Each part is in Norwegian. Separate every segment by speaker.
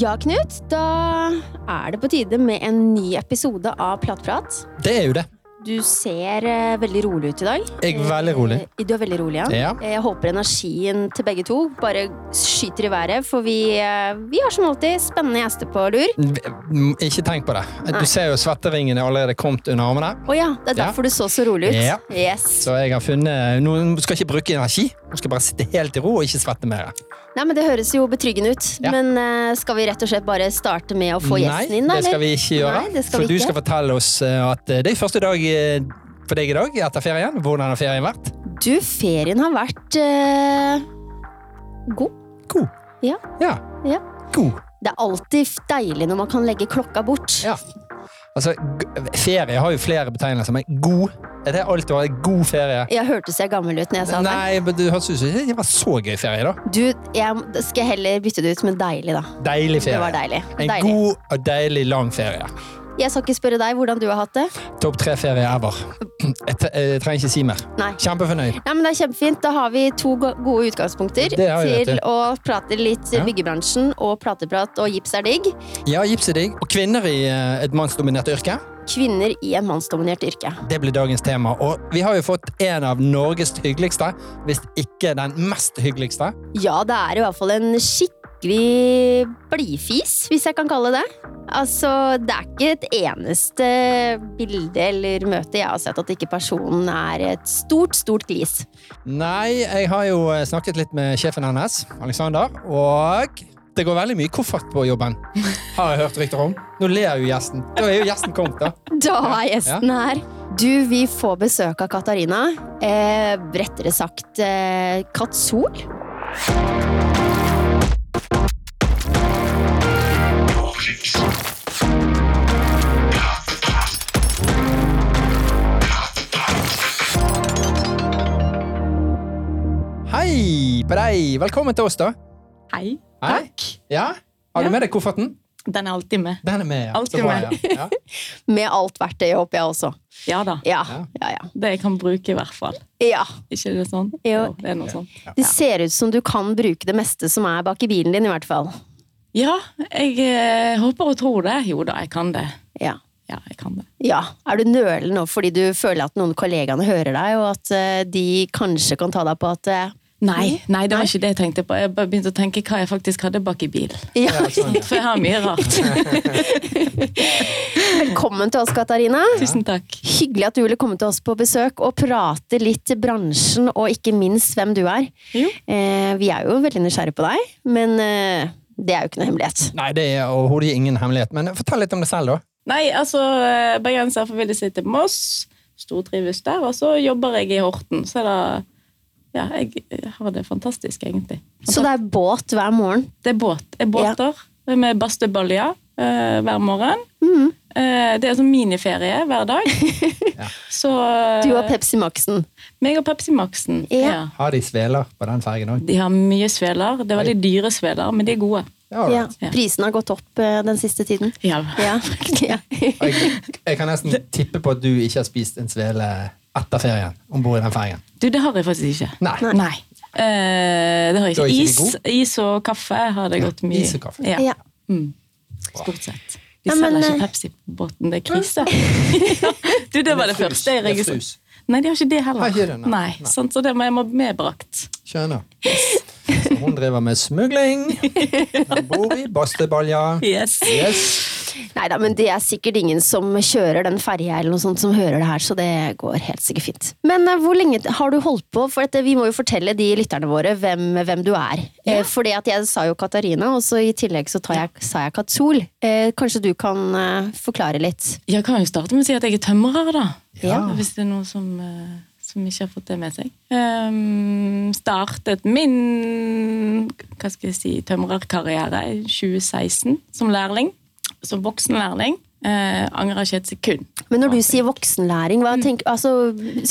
Speaker 1: Ja, Knut, da er det på tide med en ny episode av Plattprat.
Speaker 2: Det er jo det.
Speaker 1: Du ser eh, veldig rolig ut i dag.
Speaker 2: Jeg er veldig rolig.
Speaker 1: Eh, Du er veldig rolig, ja.
Speaker 2: Ja.
Speaker 1: Eh, Jeg håper energien til begge to bare skyter i været, for vi, eh, vi har som alltid spennende gjester på lur.
Speaker 2: Mm, Ikke tenk på det.
Speaker 1: Nei.
Speaker 2: Du ser jo svetteringene allerede kommet under armene.
Speaker 1: Å ja, det er
Speaker 2: Ja.
Speaker 1: derfor du så så rolig ut.
Speaker 2: Ja.
Speaker 1: Yes.
Speaker 2: Så jeg har funnet Nå skal jeg ikke bruke energi. Nå skal jeg bare sitte helt i ro og ikke svette mer.
Speaker 1: Nei, men Det høres jo betryggende ut,
Speaker 2: Ja.
Speaker 1: men eh, skal vi rett og slett bare starte med å få
Speaker 2: Nei,
Speaker 1: gjesten inn, da?
Speaker 2: det skal vi ikke gjøre.
Speaker 1: Nei, det skal vi
Speaker 2: for du
Speaker 1: ikke.
Speaker 2: skal fortelle oss eh, at eh, det er første dag eh, for deg i dag etter ferien. Hvordan har ferien vært?
Speaker 1: Du, ferien har vært eh, god.
Speaker 2: God.
Speaker 1: Ja.
Speaker 2: Ja.
Speaker 1: Ja.
Speaker 2: God.
Speaker 1: Det er alltid deilig når man kan legge klokka bort.
Speaker 2: Ja. Altså, g- ferie har jo flere betegnelser, men god Er det alt du har? God ferie?
Speaker 1: Jeg hørtes jeg gammel ut når jeg sa det.
Speaker 2: Nei, men du hørtes ut som det var så gøy ferie, da.
Speaker 1: Du, jeg da skal jeg heller bytte det ut med deilig, da.
Speaker 2: Deilig ferie.
Speaker 1: Det var deilig.
Speaker 2: En
Speaker 1: deilig.
Speaker 2: god og deilig lang ferie.
Speaker 1: Jeg skal ikke spørre deg hvordan du har hatt det.
Speaker 2: Topp tre ferie ever. Jeg, tre- eh, jeg trenger ikke si mer.
Speaker 1: Nei.
Speaker 2: Kjempefornøyd.
Speaker 1: Nei, men Det er kjempefint. Da har vi to go- gode utgangspunkter
Speaker 2: Det har vi, vet
Speaker 1: til
Speaker 2: du.
Speaker 1: å prate litt
Speaker 2: Ja.
Speaker 1: byggebransjen og plateprat og gips er digg.
Speaker 2: Ja, gips er digg. Og kvinner i eh, et mannsdominert yrke.
Speaker 1: Kvinner i en mannsdominert yrke.
Speaker 2: Det blir dagens tema. Og vi har jo fått en av Norges hyggeligste, hvis ikke den mest hyggeligste.
Speaker 1: Ja, det er i hvert fall en skikkelig blidfis, hvis jeg kan kalle det. Altså, det er ikke et eneste bilde eller møte jeg har sett at ikke personen er et stort, stort glis.
Speaker 2: Nei, jeg har jo eh, snakket litt med sjefen hennes, Alexander, og det går veldig mye koffert på jobben. Har jeg hørt rykter om. Nå ler jo gjesten. Da er jo gjesten kommet, da.
Speaker 1: Da er gjesten her. Du, vi får besøk av Katarina. Eh, rettere sagt eh, Kat Sol.
Speaker 2: Hei på deg! Velkommen til oss, da.
Speaker 3: Hei.
Speaker 2: Hei.
Speaker 3: Takk.
Speaker 2: Ja? Har
Speaker 3: Ja.
Speaker 2: du med deg kofferten?
Speaker 3: Den er alltid med.
Speaker 2: Den er med, ja.
Speaker 3: Alltid
Speaker 2: Så bra,
Speaker 3: med.
Speaker 2: Ja. Ja.
Speaker 1: Med alt verktøyet, håper jeg også.
Speaker 3: Ja da.
Speaker 1: Ja,
Speaker 2: Ja.
Speaker 1: ja, ja.
Speaker 3: Det jeg kan bruke, i hvert fall.
Speaker 1: ja.
Speaker 3: Ikke det sånn?
Speaker 1: Jo.
Speaker 3: det er noe sånn.
Speaker 1: Det ser ut som du kan bruke det meste som er bak i bilen din, i hvert fall.
Speaker 3: Ja, jeg eh, håper og tror det. Jo da, jeg kan det.
Speaker 1: Ja.
Speaker 3: Ja, jeg kan det.
Speaker 1: Ja, Er du nølende nå fordi du føler at noen kollegaene hører deg, og at eh, de kanskje kan ta deg på at eh,
Speaker 3: Nei, nei, det var ikke det jeg tenkte på. Jeg bare begynte å tenke hva jeg faktisk hadde bak i bilen.
Speaker 1: ja.
Speaker 2: Ja, sånn, ja.
Speaker 3: For jeg har mye rart.
Speaker 1: Velkommen til oss, Katarina.
Speaker 3: Tusen takk.
Speaker 1: Hyggelig at du ville komme til oss på besøk og prate litt bransjen, og ikke minst hvem du er.
Speaker 3: Jo.
Speaker 1: Eh, vi er jo veldig nysgjerrige på deg, men eh, det er jo ikke noe hemmelighet.
Speaker 2: Nei, det er overhodet ingen hemmelighet. Men fortell litt om deg selv, da.
Speaker 3: Nei, altså, eh, bergenser forvillet seg til Moss. Stortrives der. Og så jobber jeg i Horten, så da Ja, jeg eh, har det fantastisk, egentlig.
Speaker 1: Så det er båt hver morgen.
Speaker 3: Det er båt. Det er båter med bastebalja eh, hver morgen.
Speaker 1: Mm.
Speaker 3: Eh, det er sånn miniferie hver dag. Så eh,
Speaker 1: Du og Pepsi Max-en.
Speaker 3: meg og Pepsi Max-en.
Speaker 1: Ja.
Speaker 2: Har de sveler på den fergen òg?
Speaker 3: De har mye sveler. Det er veldig dyre sveler, men de er gode.
Speaker 1: Ja.
Speaker 3: Ja.
Speaker 1: Prisen har gått opp eh, den siste tiden.
Speaker 3: Ja.
Speaker 1: Ja. ja.
Speaker 2: Jeg, jeg kan nesten tippe på at du ikke har spist en svele etter ferien om bord i den fergen.
Speaker 3: Du, det har jeg faktisk ikke.
Speaker 2: Nei.
Speaker 3: Nei. Eh, det har jeg
Speaker 2: Da er
Speaker 3: ikke.
Speaker 2: ikke de
Speaker 3: Is, is og kaffe har det gått mye
Speaker 2: is og kaffe.
Speaker 3: Ja.
Speaker 1: Ja.
Speaker 3: Mm. Stort sett. De
Speaker 1: Ja,
Speaker 3: selger
Speaker 1: men, eh,
Speaker 3: ikke Pepsi på båten. Det er krise. du, det var det
Speaker 2: frus.
Speaker 3: første jeg
Speaker 2: Det er
Speaker 3: registrerte.
Speaker 2: frus.
Speaker 3: Nei, de har ikke det
Speaker 2: Har
Speaker 3: heller.
Speaker 2: ikke det, nei. Nei.
Speaker 3: sant, så det må jeg må medbrakt.
Speaker 2: Skjønner. Så hun driver med smugling. Hun bor i Bastebalja.
Speaker 3: Yes.
Speaker 2: Yes.
Speaker 1: Neida, men det er sikkert ingen som kjører den ferja eller noe sånt som hører det her, så det går helt sikkert fint. Men eh, hvor lenge har du holdt på? For dette, vi må jo fortelle de lytterne våre hvem, hvem du er. Eh, fordi at jeg sa jo Katarina, og så i tillegg så tar jeg, sa jeg Katsol. Eh, kanskje du kan eh, forklare litt?
Speaker 3: Jeg kan jo starte med å si at jeg er tømrer, da.
Speaker 2: Ja.
Speaker 3: Hvis det er noen som, eh, som ikke har fått det med seg. Ehm, startet min hva skal jeg si, tømrerkarriere i 2016 som lærling. Som voksen lærling. Eh, angrer ikke et sekund.
Speaker 1: Men når du sier voksenlæring, hva tenk, altså,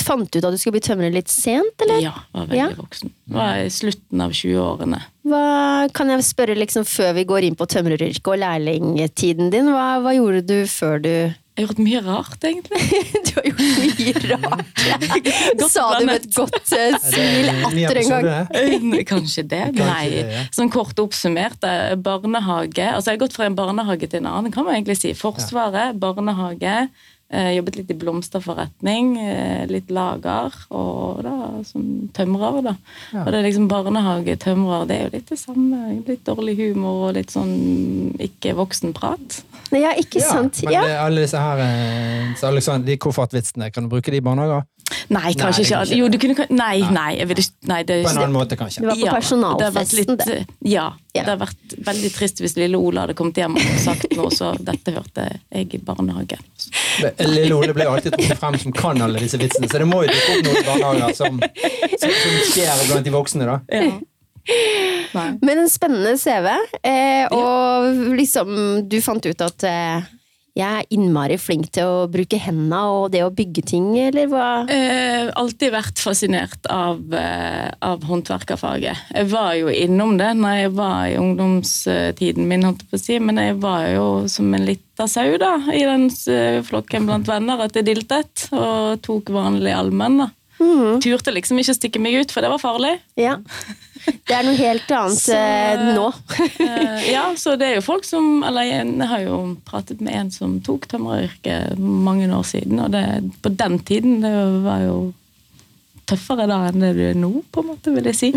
Speaker 1: fant du ut at du skulle bli tømrer litt sent, eller?
Speaker 3: Ja, var veldig
Speaker 1: Ja.
Speaker 3: voksen. Var i slutten av 20-årene.
Speaker 1: Hva, kan jeg spørre liksom før vi går inn på tømreryrket og lærlingtiden din, hva, hva gjorde du før du
Speaker 3: Jeg har gjort mye rart, egentlig.
Speaker 1: Du har gjort mye rart. Sa du med et godt eh, smil
Speaker 2: Ny
Speaker 1: atter en gang.
Speaker 2: episode.
Speaker 3: Eh, Kanskje det.
Speaker 2: Kanskje
Speaker 3: Nei.
Speaker 2: det, ja.
Speaker 3: Sånn kort oppsummert, eh, barnehage Altså, jeg har gått fra en barnehage til en annen, kan man egentlig si. Forsvaret, barnehage. eh, Jobbet litt i blomsterforretning, eh, litt lager, og da som tømrer, da.
Speaker 2: Ja.
Speaker 3: Og det er liksom barnehage, tømrer, det er jo litt det samme. Litt dårlig humor og litt sånn ikke voksenprat.
Speaker 1: Nei, Ja, ikke sant?
Speaker 2: Men
Speaker 1: Ja.
Speaker 2: det, alle disse her eh, så Alexander, de koffertvitsene, kan du bruke de i barnehager?
Speaker 3: Nei, kanskje
Speaker 2: det
Speaker 3: ikke.
Speaker 2: kan
Speaker 3: alle-
Speaker 2: ikke.
Speaker 3: Jo, du kunne kan- Nei, nei, jeg vil ikke Nei, det
Speaker 2: På
Speaker 3: er ikke
Speaker 2: en
Speaker 3: det.
Speaker 2: annen måte, kanskje.
Speaker 1: Det var på personalfesten,
Speaker 3: det. har vært litt- Ja,
Speaker 1: Ja.
Speaker 3: det har vært veldig trist hvis lille Ola hadde kommet hjem og sagt noe, så dette hørte jeg i barnehagen.
Speaker 2: Det- Lille Ole blir alltid trukket frem som kan alle disse vitsene, så det må jo dukke opp noen barnehager som, som, som skjer blant de voksne, da.
Speaker 3: Ja. Nei.
Speaker 1: Men en spennende CV. Eh, og liksom, du fant ut at eh, jeg er innmari flink til å bruke hendene og det å bygge ting, eller hva?
Speaker 3: Eh, alltid vært fascinert av, eh, av håndverkerfaget. Jeg var jo innom det når jeg var i ungdomstiden min, holdt jeg på å si, men jeg var jo som en lita sau da, i den eh, flokken blant venner at jeg diltet og tok vanlig allmenn. da.
Speaker 1: Mm.
Speaker 3: Turte liksom ikke å stikke meg ut, for det var farlig.
Speaker 1: Ja. Det er noe helt annet
Speaker 3: Så-
Speaker 1: eh, nå.
Speaker 3: Eh, ja, så det er jo folk som Eller jeg, jeg har jo pratet med en som tok tømreryrket mange år siden, og det, på den tiden det var jo tøffere da enn det du er nå, på en måte, vil jeg si.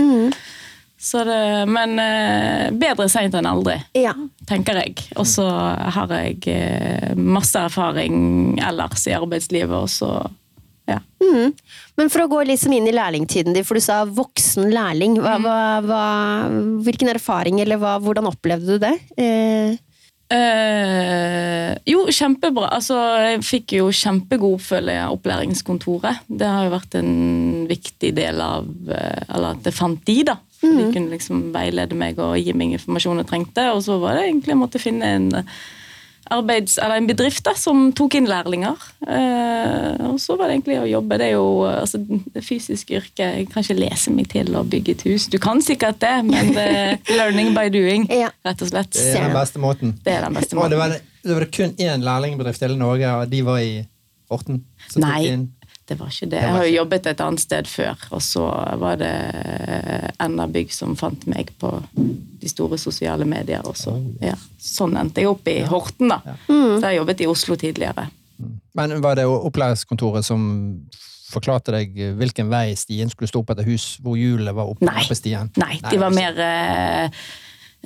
Speaker 3: Så det, men eh, bedre seint enn aldri,
Speaker 1: Ja.
Speaker 3: tenker jeg. Og så har jeg eh, masse erfaring ellers i arbeidslivet, og så ja.
Speaker 1: Mhm. Men for å gå liksom inn i lærlingtiden din, for du sa voksen lærling. Hva, hva, hva, hvilken erfaring, eller hva, hvordan opplevde du det? Eh,
Speaker 3: Eh, jo, kjempebra. Altså, jeg fikk jo kjempegod oppfølging av opplæringskontoret. Det har jo vært en viktig del av eh, Eller at jeg fant de, da. De kunne liksom veilede meg og gi meg informasjon jeg trengte. Og så var det egentlig jeg måtte finne en arbeids, eller en bedrift da, som tok inn lærlinger. Eh, og så var det egentlig å jobbe. Det er jo eh, altså, det fysiske yrket. Jeg kan ikke lese meg til å bygge et hus. Du kan sikkert det, men det er learning by doing,
Speaker 1: Ja.
Speaker 3: rett og slett.
Speaker 2: Det er den beste måten.
Speaker 3: Det er den beste
Speaker 2: Og det
Speaker 3: måten.
Speaker 2: var, det var det kun én lærlingbedrift i hele Norge, og de var i Horten. Så tok de
Speaker 3: Nei,
Speaker 2: inn-
Speaker 3: det var ikke det.
Speaker 2: var
Speaker 3: Jeg har jo
Speaker 2: ikke-
Speaker 3: jobbet et annet sted før, og så var det NR Bygg som fant meg på de store sosiale medier. Og så, ja. Sånn endte jeg opp i Horten, da. Der jeg jobbet i Oslo tidligere.
Speaker 2: Men var det opplæringskontoret som forklarte deg hvilken vei stien skulle stå opp etter hus, hvor hjulet var oppe
Speaker 3: Nei.
Speaker 2: på stien?
Speaker 3: Nei, de var mer eh,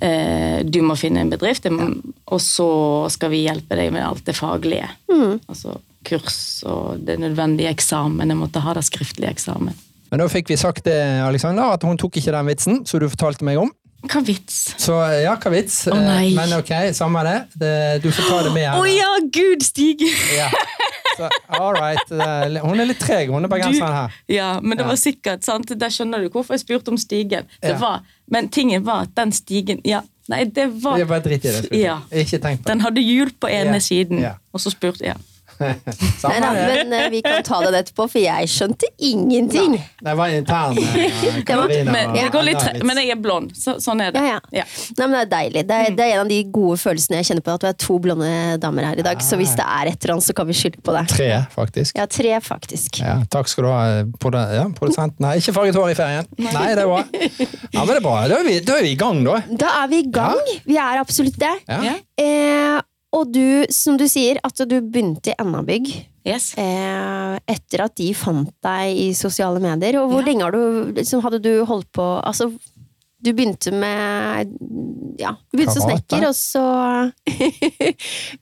Speaker 3: eh, Du må finne en bedrift, det må- og så skal vi hjelpe deg med alt det faglige. Altså kurs og det nødvendige eksamen. Jeg måtte ha det skriftlig eksamen.
Speaker 2: Men da fikk vi sagt det, Alexander, at hun tok ikke den vitsen som du fortalte meg om.
Speaker 3: Hva vits?
Speaker 2: Så eh, ja, hva vits?
Speaker 3: Å, nei.
Speaker 2: Eh, Men ok, samme det. det. Du får ta det med
Speaker 3: Å
Speaker 2: henne.
Speaker 3: ja, gud, Stig!
Speaker 2: Ja. Så, all right. det er li- Hun er litt treg, hun er bergenseren her.
Speaker 3: Ja, men det
Speaker 2: Ja.
Speaker 3: var sikkert, sant? Der skjønner du hvorfor jeg spurte om stigen. Det
Speaker 2: Ja.
Speaker 3: var, men tingen var at den stigen ja, Nei, det var
Speaker 2: Jeg bare driter i det. skal du.
Speaker 3: Ja.
Speaker 2: Ikke tenk på det.
Speaker 3: Den hadde hjul på ene
Speaker 2: Ja.
Speaker 3: siden,
Speaker 2: Ja.
Speaker 3: og så spurte ja.
Speaker 1: nei,
Speaker 2: Samme
Speaker 1: da,
Speaker 2: det.
Speaker 1: men eh, vi kan ta det etterpå, for jeg skjønte ingenting.
Speaker 2: Det var intern. eh,
Speaker 1: Det var-
Speaker 2: Karina
Speaker 3: Men,
Speaker 2: og-
Speaker 3: det går litt
Speaker 2: Anna
Speaker 3: tre
Speaker 2: vits.
Speaker 3: men jeg er blond, så, sånn er det.
Speaker 1: Ja, ja. Nei, men Det er deilig. Det
Speaker 2: Mm.
Speaker 1: er, det er en av de gode følelsene jeg kjenner på. At vi er to blonde damer her i dag. Så hvis det er et eller annet, så kan vi skylde på det.
Speaker 2: Ah. Tre, faktisk.
Speaker 1: Ja, tre, faktisk.
Speaker 2: Ja, takk skal du ha, produ- ja, produsenten. Nei, ikke farget hår i ferien. Nei, det er bra. Ja, men det er bra. Da er vi, da er vi i gang, da.
Speaker 1: Da er vi i gang. Vi er absolutt det.
Speaker 2: Ja.
Speaker 3: Ja.
Speaker 1: Eh, og du, som du sier, at du begynte i NA-bygg
Speaker 3: Yes.
Speaker 1: eh, etter at de fant deg i sosiale medier. Og hvor
Speaker 3: Ja.
Speaker 1: lenge har du, liksom, hadde du holdt på Altså, du begynte med Ja, du begynte som
Speaker 2: Karate.
Speaker 1: snekker, og så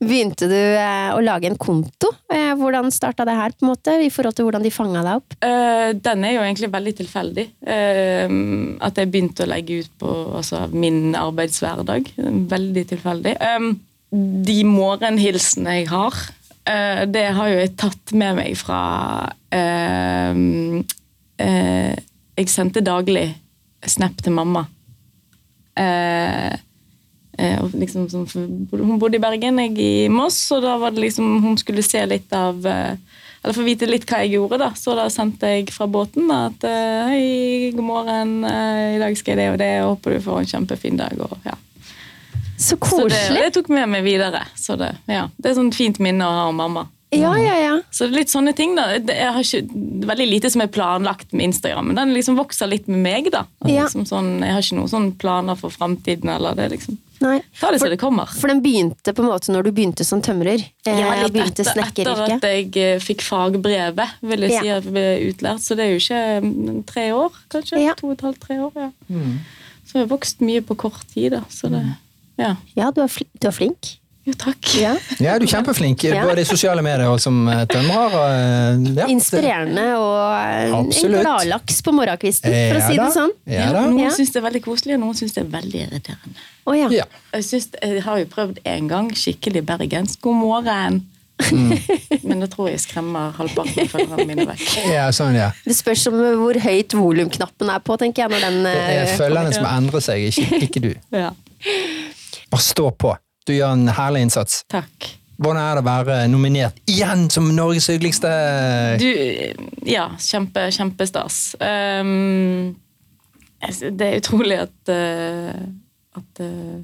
Speaker 1: begynte du eh, å lage en konto. Eh, hvordan starta det her, på en måte, i forhold til hvordan de fanga deg opp?
Speaker 3: Eh, den er jo egentlig veldig tilfeldig. Eh, at jeg begynte å legge ut på altså, min arbeidshverdag. Veldig tilfeldig. Um, de morgenhilsene jeg har, eh, det har jo jeg tatt med meg fra eh, eh, Jeg sendte daglig snap til mamma. Eh, Eh, og liksom, sånn, for hun bodde i Bergen, jeg i Moss, og da var det liksom, hun skulle se litt av eh, Eller få vite litt hva jeg gjorde, da. Så da sendte jeg fra båten da, at eh, hei, god morgen, eh, i dag skal jeg det og det, og håper du får en kjempefin dag. Og, ja.
Speaker 1: Så
Speaker 3: Så det,
Speaker 1: koselig.
Speaker 3: det tok med meg videre. Så det, ja. det er sånn fint minne å ha om mamma.
Speaker 1: Ja, ja, ja.
Speaker 3: Så det er litt sånne ting da. Det- Jeg har ikke, det er veldig lite som er planlagt med Instagram, men den liksom vokser litt med meg. da. At
Speaker 1: Ja.
Speaker 3: Liksom sånn, jeg har ikke noen sånne planer for framtiden. eller det liksom.
Speaker 1: Nei.
Speaker 3: Ta det
Speaker 1: For-
Speaker 3: som det kommer.
Speaker 1: For den begynte på en måte når du begynte som tømrer. Eh,
Speaker 3: Ja,
Speaker 1: og
Speaker 3: litt
Speaker 1: begynte
Speaker 3: etter, etter at
Speaker 1: snekkeryrket.
Speaker 3: jeg eh, fikk fagbrevet, vil jeg
Speaker 1: Ja.
Speaker 3: si, jeg ble utlært. Så det er jo ikke mm, tre år, kanskje.
Speaker 1: Ja.
Speaker 3: To og et halvt, tre år, ja.
Speaker 2: Mm.
Speaker 3: Så jeg har vokst mye på kort tid, da. Så det, ja.
Speaker 1: Ja, du er, fl du er flink.
Speaker 3: Jo, takk.
Speaker 1: Ja.
Speaker 2: Ja, du er kjempeflink
Speaker 1: Ja.
Speaker 2: både i sosiale medier og som eh, tømrer. og, eh, Ja,
Speaker 1: Inspirerende og eh, en
Speaker 2: Absolutt.
Speaker 1: gladlaks på morgenkvisten, for å
Speaker 2: Ja
Speaker 1: si
Speaker 2: da.
Speaker 1: det sånn.
Speaker 2: Ja da.
Speaker 3: Noen
Speaker 1: Ja.
Speaker 3: syns det er veldig koselig, og noen syns det er veldig irriterende.
Speaker 1: Å ja.
Speaker 2: Ja.
Speaker 3: Jeg, synes, jeg har jo prøvd en gang skikkelig bergensk 'god morgen',
Speaker 2: Mm.
Speaker 3: men det tror jeg skremmer halvparten av følgerne mine vekk.
Speaker 2: ja, sånn, ja.
Speaker 1: Det spørs om eh, hvor høyt volumknappen er på, tenker jeg. Når den,
Speaker 2: Det er
Speaker 1: eh,
Speaker 2: følgerne som endrer seg, ikke, ikke du.
Speaker 3: Ja.
Speaker 2: Bare stå på. Du gjør en herlig innsats.
Speaker 3: Takk.
Speaker 2: Hvordan er det å være nominert igjen som Norges hyggeligste
Speaker 3: Du, ja, kjempe, kjempestas. Ehm, jeg sy- det er utrolig at, eh, at eh,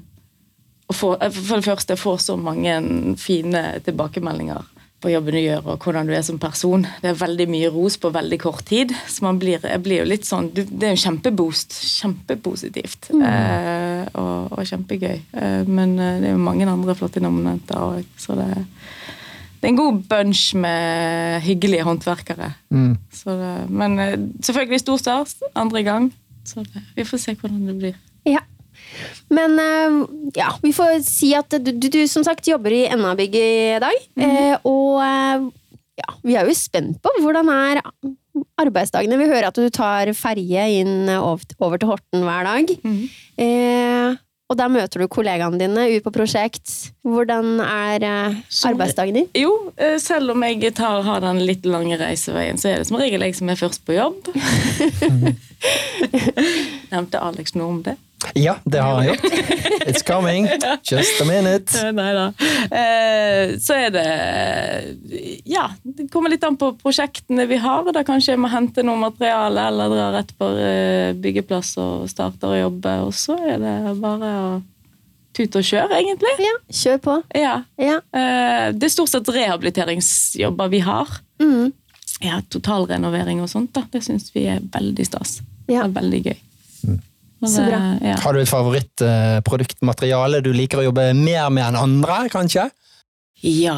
Speaker 3: å få, eh, For det første, få så mange fine tilbakemeldinger på jobben du gjør, og hvordan du er som person. Det er veldig mye ros på veldig kort tid. så man blir, jeg blir jo litt sånn, du, Det er en kjempeboost. Kjempepositivt. eh, og, og kjempegøy. Eh, men eh, det er jo mange andre flotte nominenter òg, så det det er en god bunch med hyggelige håndverkere. Så det, men eh, selvfølgelig stor stas andre gang. Så det, vi får se hvordan det blir.
Speaker 1: Ja. Men eh, ja, vi får si at du, du, du som sagt jobber i NA-bygget i dag. eh, og eh, ja, vi er jo spent på hvordan er arbeidsdagene. Vi hører at du tar ferje inn eh, over, over til Horten hver dag. Eh, og der møter du kollegaene dine ut på prosjekt. Hvordan er eh,
Speaker 3: Som-
Speaker 1: arbeidsdagen din?
Speaker 3: Jo, eh, selv om jeg tar, har den litt lange reiseveien, så er det som regel jeg som er først på jobb. Nevnte Alex noe om det?
Speaker 2: Ja, det har han gjort. It's coming. Just a minute.
Speaker 3: Eh, Nei da. Eh, Så er det Ja, det kommer litt an på prosjektene vi har. Da kanskje jeg må hente noe materiale eller dra rett på eh, byggeplass og starte å jobbe. Og så er det bare å tute og kjøre, egentlig.
Speaker 1: Ja, kjør på.
Speaker 3: Ja.
Speaker 1: Ja.
Speaker 3: Eh, Det er stort sett rehabiliteringsjobber vi har.
Speaker 1: Mm.
Speaker 3: Ja, Totalrenovering og sånt. da. Det syns vi er veldig stas.
Speaker 1: Ja.
Speaker 3: Det er veldig gøy. Og
Speaker 1: Så
Speaker 3: det-
Speaker 1: bra.
Speaker 3: Ja.
Speaker 2: Har du et favorittproduktmateriale du liker å jobbe mer med enn andre, kanskje?
Speaker 3: ja,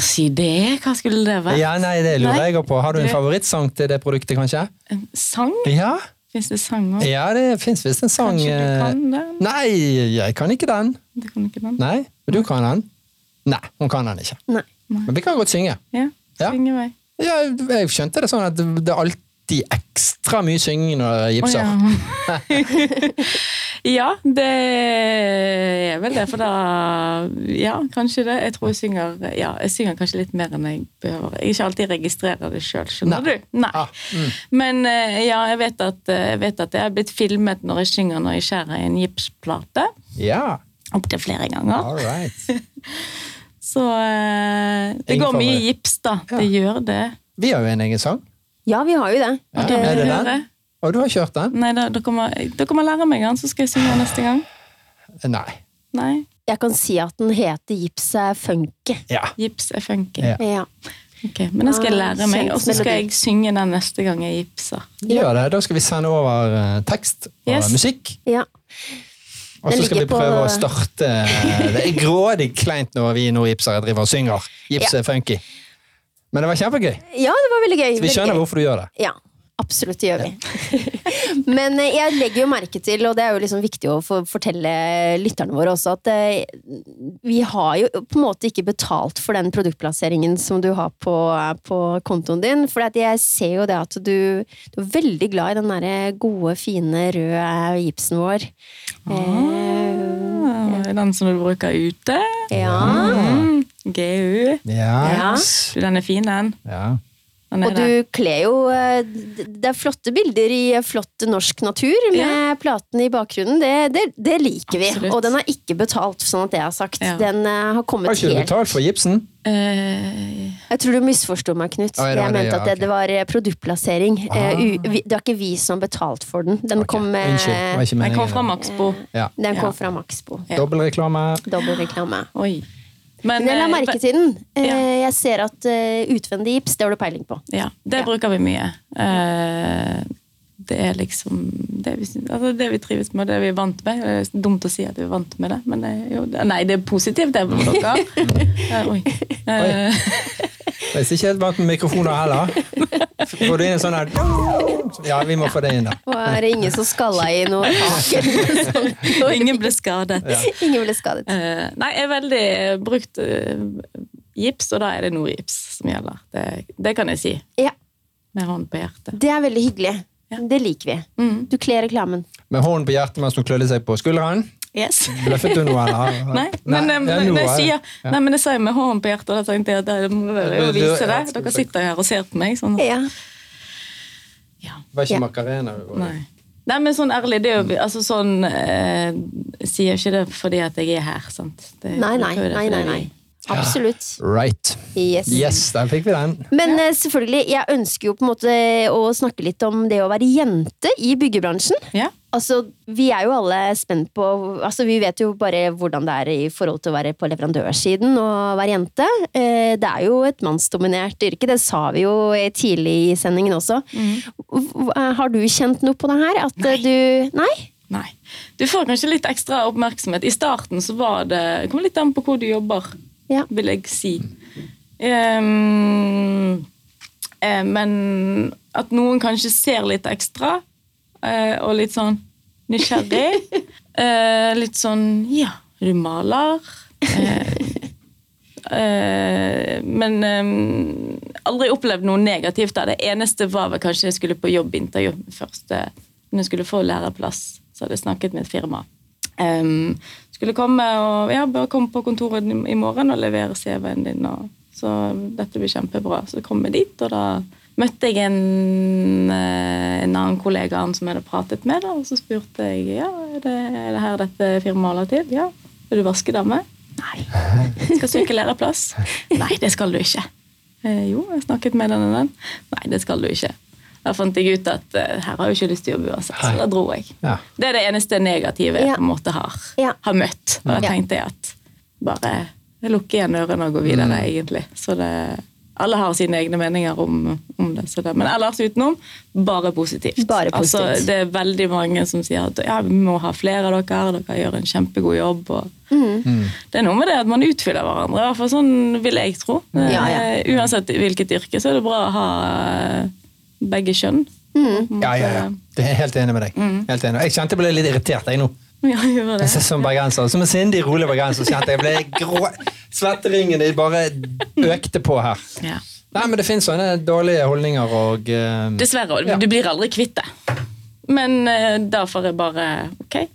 Speaker 3: si det. Hva skulle det være?
Speaker 2: Ja, nei, det lurer
Speaker 3: Nei.
Speaker 2: jeg også på. Har du en
Speaker 3: Du-
Speaker 2: favorittsang til det produktet, kanskje?
Speaker 3: En sang?
Speaker 2: Ja,
Speaker 3: Fins det sang òg?
Speaker 2: ja det fins visst en sang
Speaker 3: Kanskje du
Speaker 2: eh,
Speaker 3: kan den?
Speaker 2: Nei, jeg kan ikke den.
Speaker 3: Du kan ikke den?
Speaker 2: Nei, men du kan den. Nei, hun kan den ikke.
Speaker 1: Nei.
Speaker 2: Men vi kan godt synge.
Speaker 3: Ja,
Speaker 2: Ja.
Speaker 3: syng i vei.
Speaker 2: Ja, jeg skjønte det sånn at det er alltid ekstra mye synging når det
Speaker 3: Å,
Speaker 2: gipser.
Speaker 3: ja. ja, det er vel det, for da Ja, kanskje det. Jeg tror jeg synger Ja, jeg synger kanskje litt mer enn jeg behøver. Jeg ikke alltid registrerer det sjøl, skjønner
Speaker 2: Nei.
Speaker 3: du? Nei.
Speaker 2: Ah,
Speaker 3: Men eh, ja, jeg vet at, eh, jeg vet at jeg er blitt filmet når jeg synger når jeg skjærer en gipsplate.
Speaker 2: Ja,
Speaker 3: Opptil flere ganger.
Speaker 2: all right.
Speaker 3: Så eh, det
Speaker 2: Ingen
Speaker 3: går mye
Speaker 2: favoritt.
Speaker 3: gips, da.
Speaker 2: Ja.
Speaker 3: Det gjør det.
Speaker 2: Vi har jo en egen sang.
Speaker 1: Ja, vi har jo det. Eh,
Speaker 2: Ja,
Speaker 1: Det-
Speaker 2: er det
Speaker 3: hører
Speaker 2: den?
Speaker 3: jeg.
Speaker 2: Og du har kjørt den?
Speaker 3: Nei, da, dere, må, dere må lære meg den, så skal jeg synge den neste gang.
Speaker 2: Nei.
Speaker 3: Nei,
Speaker 1: Jeg kan si at den heter Gips er funky.
Speaker 2: Ja.
Speaker 3: gips er funky.
Speaker 2: Ja.
Speaker 1: Ja.
Speaker 3: Ok, men den skal
Speaker 1: Ah,
Speaker 3: jeg lære meg, og så skal
Speaker 1: Kjent melodi.
Speaker 3: jeg synge den neste gang jeg gipser.
Speaker 2: Gjør det. Da skal vi sende over eh, tekst og
Speaker 3: Yes.
Speaker 2: musikk.
Speaker 1: ja.
Speaker 2: Og
Speaker 1: Den
Speaker 2: så skal vi
Speaker 1: ligger på-
Speaker 2: prøve å starte eh, Det er grådig kleint når vi nordgipsere driver og synger. Gips er funky. Men det var kjempegøy.
Speaker 1: Ja, det var veldig gøy.
Speaker 2: Vi
Speaker 1: Veldig
Speaker 2: skjønner
Speaker 1: gøy.
Speaker 2: hvorfor du gjør det.
Speaker 1: Ja, absolutt, det gjør vi. Men eh, jeg legger jo merke til, og det er jo liksom viktig å få fortelle lytterne våre også, at eh, vi har jo på en måte ikke betalt for den produktplasseringen som du har på, eh, på kontoen din. For at jeg ser jo det at du, du er veldig glad i den derre gode, fine, røde gipsen vår. Eh,
Speaker 3: Ah, Den som du bruker ute.
Speaker 1: ja.
Speaker 3: Mm, GU.
Speaker 2: Ja.
Speaker 1: Ja.
Speaker 2: Yes.
Speaker 3: Du, Den er fin, den.
Speaker 2: ja.
Speaker 3: Den er
Speaker 1: Og
Speaker 3: det.
Speaker 1: du kler jo eh, d- Det er flotte bilder i eh, flott norsk natur med
Speaker 3: Ja.
Speaker 1: platene i bakgrunnen. Det, det, det liker vi.
Speaker 3: Absolutt.
Speaker 1: Og den er ikke betalt, sånn at det er sagt.
Speaker 3: Ja.
Speaker 1: Den eh, har kommet
Speaker 2: Har ikke du
Speaker 1: helt
Speaker 2: betalt for gipsen?
Speaker 3: Eh,
Speaker 1: Jeg tror du misforsto meg, Knut.
Speaker 2: Oi, det var
Speaker 1: jeg
Speaker 2: det,
Speaker 1: mente at
Speaker 2: ja,
Speaker 1: det,
Speaker 2: ok. Ah.
Speaker 1: det var eh, produktplassering. Eh, u- vi, det var ikke vi som betalte for den. Den
Speaker 2: Ok,
Speaker 1: kom, eh,
Speaker 2: Unnskyld, det var ikke
Speaker 3: den kom fra
Speaker 2: meningen.
Speaker 3: Maxbo.
Speaker 2: Ja.
Speaker 1: den kom
Speaker 3: Ja.
Speaker 1: fra Maxbo.
Speaker 3: Ja.
Speaker 2: Dobbelreklame.
Speaker 1: Dobbelreklame.
Speaker 3: Oi. Men,
Speaker 1: Men jeg la
Speaker 3: eh,
Speaker 1: merke
Speaker 3: be-
Speaker 1: til den. Eh,
Speaker 3: Ja.
Speaker 1: Jeg ser at eh, utvendig gips, det har du peiling på.
Speaker 3: Ja, det
Speaker 1: Ja.
Speaker 3: bruker vi mye. Eh, det er liksom det vi, syns- altså det vi trives med, det vi er vant med. Det er dumt å si at vi er vant med det, men det er jo, det- nei, det er positivt, det, for dere. Eh, oi. Eh,
Speaker 2: Jeg er ikke helt vant med mikrofoner heller. Får du inn en sånn her Ja, vi må få det inn der.
Speaker 1: Og er det ingen som skalla i noe tak?
Speaker 3: og ingen ble skadet.
Speaker 1: Ingen ble skadet.
Speaker 3: Eh, nei, jeg er veldig eh, brukt eh, gips, og da er det Nordgips som gjelder. Det, det kan jeg si.
Speaker 1: Ja,
Speaker 3: Med hånden på hjertet.
Speaker 1: det er veldig hyggelig.
Speaker 3: Ja.
Speaker 1: Det liker vi.
Speaker 3: Mm.
Speaker 1: Du kler reklamen.
Speaker 2: Med hånden på hjertet mens hun klødde seg på skulderen.
Speaker 3: Yes.
Speaker 2: Bløffet du noe, eller?
Speaker 3: Nei, men, eh,
Speaker 2: ja,
Speaker 3: men
Speaker 2: nå
Speaker 3: jeg
Speaker 2: er det-
Speaker 3: sier,
Speaker 2: ja.
Speaker 3: nei, men jeg sa jo med hånden på hjertet, og da tenkte jeg at det må dere jo
Speaker 2: Du- du-
Speaker 3: vise det.
Speaker 2: ja,
Speaker 3: Dere sitter jo her og ser på meg. sånn.
Speaker 1: Ja.
Speaker 3: Ja,
Speaker 2: Det var ikke
Speaker 1: Ja.
Speaker 2: Macarena. det var-
Speaker 3: nei. Nei, men sånn ærlig, det er jo altså sånn eh, Sier ikke det fordi at jeg er her, sant? Det,
Speaker 1: Nei,
Speaker 3: jeg
Speaker 1: nei,
Speaker 3: bruker jo det
Speaker 1: nei,
Speaker 3: fordi
Speaker 1: nei. nei.
Speaker 3: vi-
Speaker 1: Absolutt.
Speaker 2: Right.
Speaker 1: Yes.
Speaker 2: Yes, der fikk vi den.
Speaker 1: Men eh, selvfølgelig, jeg ønsker jo på en måte å snakke litt om det å være jente i byggebransjen.
Speaker 3: Ja,
Speaker 1: Altså, Vi er jo alle spent på altså Vi vet jo bare hvordan det er i forhold til å være på leverandørsiden og være jente. Eh, Det er jo et mannsdominert yrke, det sa vi jo eh, tidlig i sendingen også. Hv- eh, Har du kjent noe på det her? At eh, du Nei?
Speaker 3: nei. Du får kanskje litt ekstra oppmerksomhet. I starten så var det Det kommer litt an på hvor du jobber,
Speaker 1: Ja.
Speaker 3: vil jeg si. Ehm, eh, men at noen kanskje ser litt ekstra, eh, og litt sånn nysgjerrig. eh, litt sånn Ja, du maler. Eh, eh, men eh, aldri opplevd noe negativt. Da. Det eneste var vel kanskje jeg skulle på jobbintervju først. eh, Når jeg skulle få læreplass, så hadde jeg snakket med et firma. Eh, skulle komme og ja, bare komme på kontoret i morgen og levere CV-en din. Og, så dette blir kjempebra. Så kom jeg dit, og da møtte jeg en, eh, en annen kollega han som jeg hadde pratet med. Da, og så spurte jeg ja, er det, er det her dette firmaet holder til. Ja, er du vaskedame? Nei. Skal søke læreplass? Nei, det skal du ikke. Eh, jo, jeg snakket med den og den. Nei, det skal du ikke. Da fant jeg ut at eh, her har jeg ikke lyst til å jobbe uansett, så
Speaker 2: Nei.
Speaker 3: da dro jeg.
Speaker 2: Ja.
Speaker 3: Det er det eneste negative jeg
Speaker 1: Ja.
Speaker 3: på en måte har,
Speaker 1: Ja.
Speaker 3: har møtt. Og da
Speaker 1: Ja.
Speaker 3: tenkte jeg at bare lukke igjen ørene og gå videre,
Speaker 2: Mm.
Speaker 3: egentlig. Så det, alle har sine egne meninger om, om det, så det. Men ellers utenom, bare positivt.
Speaker 1: Bare positivt.
Speaker 3: Altså, det er veldig mange som sier at ja, vi må ha flere av dere, dere gjør en kjempegod jobb. Og
Speaker 1: Mm.
Speaker 2: Mm.
Speaker 3: Det er noe med det at man utfyller hverandre, i hvert fall sånn vil jeg tro.
Speaker 1: Ja, ja.
Speaker 3: Eh, Uansett hvilket yrke, så er det bra å ha eh, begge kjønn.
Speaker 1: Mm.
Speaker 2: Ja, ja,
Speaker 3: eh,
Speaker 2: ja. Det er jeg helt enig med deg.
Speaker 3: Mm.
Speaker 2: Helt enig. Jeg kjente jeg ble litt irritert jeg nå.
Speaker 3: Ja, gjør det.
Speaker 2: Jeg ser Som bergenser, som en sindig, rolig bergenser så kjente jeg ble grå. Svetteringene bare økte på her.
Speaker 3: Ja.
Speaker 2: Nei, men det finnes sånne dårlige holdninger og eh,
Speaker 3: Dessverre. og
Speaker 2: Ja.
Speaker 3: Du blir aldri kvitt det. Men eh, da får jeg bare Ok,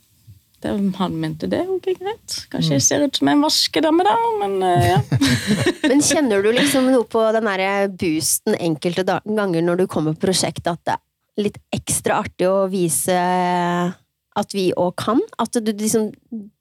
Speaker 3: det, han mente det. Ok, greit. Kanskje
Speaker 1: Mm.
Speaker 3: jeg ser ut som en vaskedame, da, men eh, ja.
Speaker 1: Men kjenner du liksom noe på den der boosten enkelte da- ganger når du kommer på prosjekt, at det er litt ekstra artig å vise at vi òg kan? At du liksom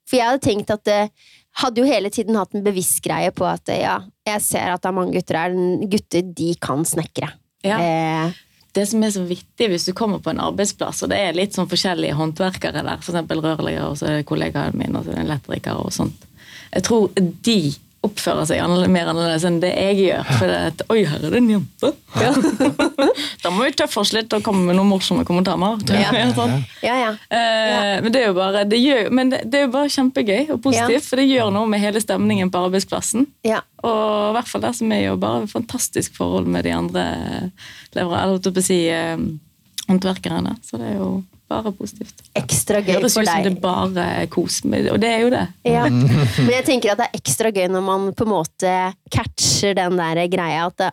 Speaker 1: For jeg hadde tenkt at det hadde jo hele tiden hatt en bevisst greie på at eh, ja, jeg ser at det er mange gutter her. Gutter, de kan snekre.
Speaker 3: ja.
Speaker 1: Eh,
Speaker 3: Det som er så vittig hvis du kommer på en arbeidsplass, og det er litt sånn forskjellige håndverkere der, f.eks. rørleggere, og så er det kollegaen min, og så er det en elektriker og sånt. Jeg tror de oppfører seg annerle- mer annerledes enn det jeg gjør. For det er at, Oi, her er det en jente! da må vi tøffe oss litt og komme med noen morsomme kommentarer. tror jeg, sånn.
Speaker 1: ja, ja.
Speaker 3: Eh, Men, det er jo bare, det gjør, men det, det er jo bare kjempegøy og positivt, for det gjør noe med hele stemningen på arbeidsplassen.
Speaker 1: Ja.
Speaker 3: Og i hvert fall der som jeg jobber, har vi fantastisk forhold med de andre lever, eller, holdt jeg på å si, eh, håndverkerne. Så det er jo bare positivt.
Speaker 1: Ekstra
Speaker 3: Det
Speaker 1: gøy
Speaker 3: høres
Speaker 1: for
Speaker 3: ut som
Speaker 1: deg.
Speaker 3: det bare er kos, med- og det er jo det.
Speaker 1: Ja.
Speaker 3: Mm.
Speaker 1: Men jeg tenker at det er ekstra gøy når man på en måte catcher den der greia at det,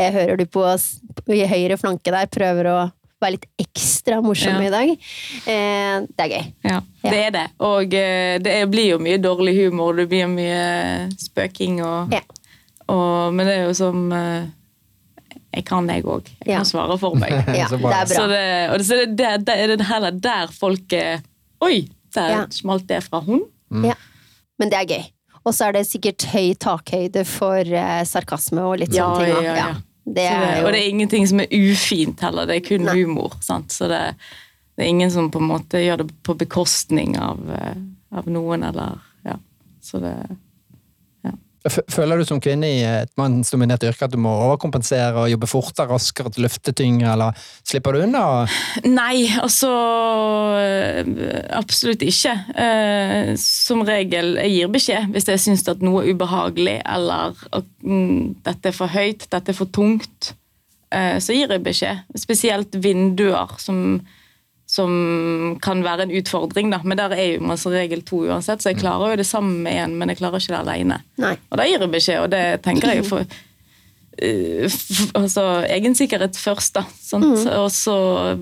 Speaker 1: jeg hører du på s- i høyre flanke der prøver å være litt ekstra morsom
Speaker 3: Ja.
Speaker 1: i dag. Eh, det er gøy.
Speaker 3: Ja,
Speaker 1: Ja.
Speaker 3: Det er det. Og eh, det er- blir jo mye dårlig humor, det blir mye spøking og
Speaker 1: Ja.
Speaker 3: Og, men det er jo som eh, jeg kan jeg òg. Jeg
Speaker 1: Ja.
Speaker 3: kan svare for meg.
Speaker 1: Ja,
Speaker 2: Så
Speaker 1: det
Speaker 2: bra.
Speaker 1: er bra.
Speaker 3: Så det, og det, så det, det, det er det heller der folk eh, Oi! Der
Speaker 1: Ja.
Speaker 3: smalt det fra hun.
Speaker 1: Ja. Men det er gøy. Og så er det sikkert høy takhøyde for eh, sarkasme og litt
Speaker 3: Ja,
Speaker 1: sånne ting. da.
Speaker 3: ja, ja.
Speaker 1: Det
Speaker 3: Så
Speaker 1: er
Speaker 3: det,
Speaker 1: jo
Speaker 3: og det er ingenting som er ufint heller. Det er kun
Speaker 1: Nei.
Speaker 3: humor. Sant? Så det, det er ingen som på en måte gjør det på bekostning av, eh, av noen, eller Ja. Så det
Speaker 2: F- Føler du som kvinne i et mannsdominert yrke at du må overkompensere og jobbe fortere, raskere, løfte tyngre, eller slipper du unna?
Speaker 3: Nei, altså øh, Absolutt ikke. Eh, Som regel jeg gir beskjed hvis jeg syns at noe er ubehagelig eller at mm, dette er for høyt, dette er for tungt. eh, Så gir jeg beskjed. Spesielt vinduer, som, som kan være en utfordring. Da. Men der er jo man som regel to uansett, så jeg klarer jo det sammen med én, men jeg klarer ikke det aleine.
Speaker 1: Nei.
Speaker 3: Og da gir jeg beskjed, og det tenker jeg jo for eh, f- altså, egen sikkerhet først, da. Sant?
Speaker 1: Mm.
Speaker 3: Og så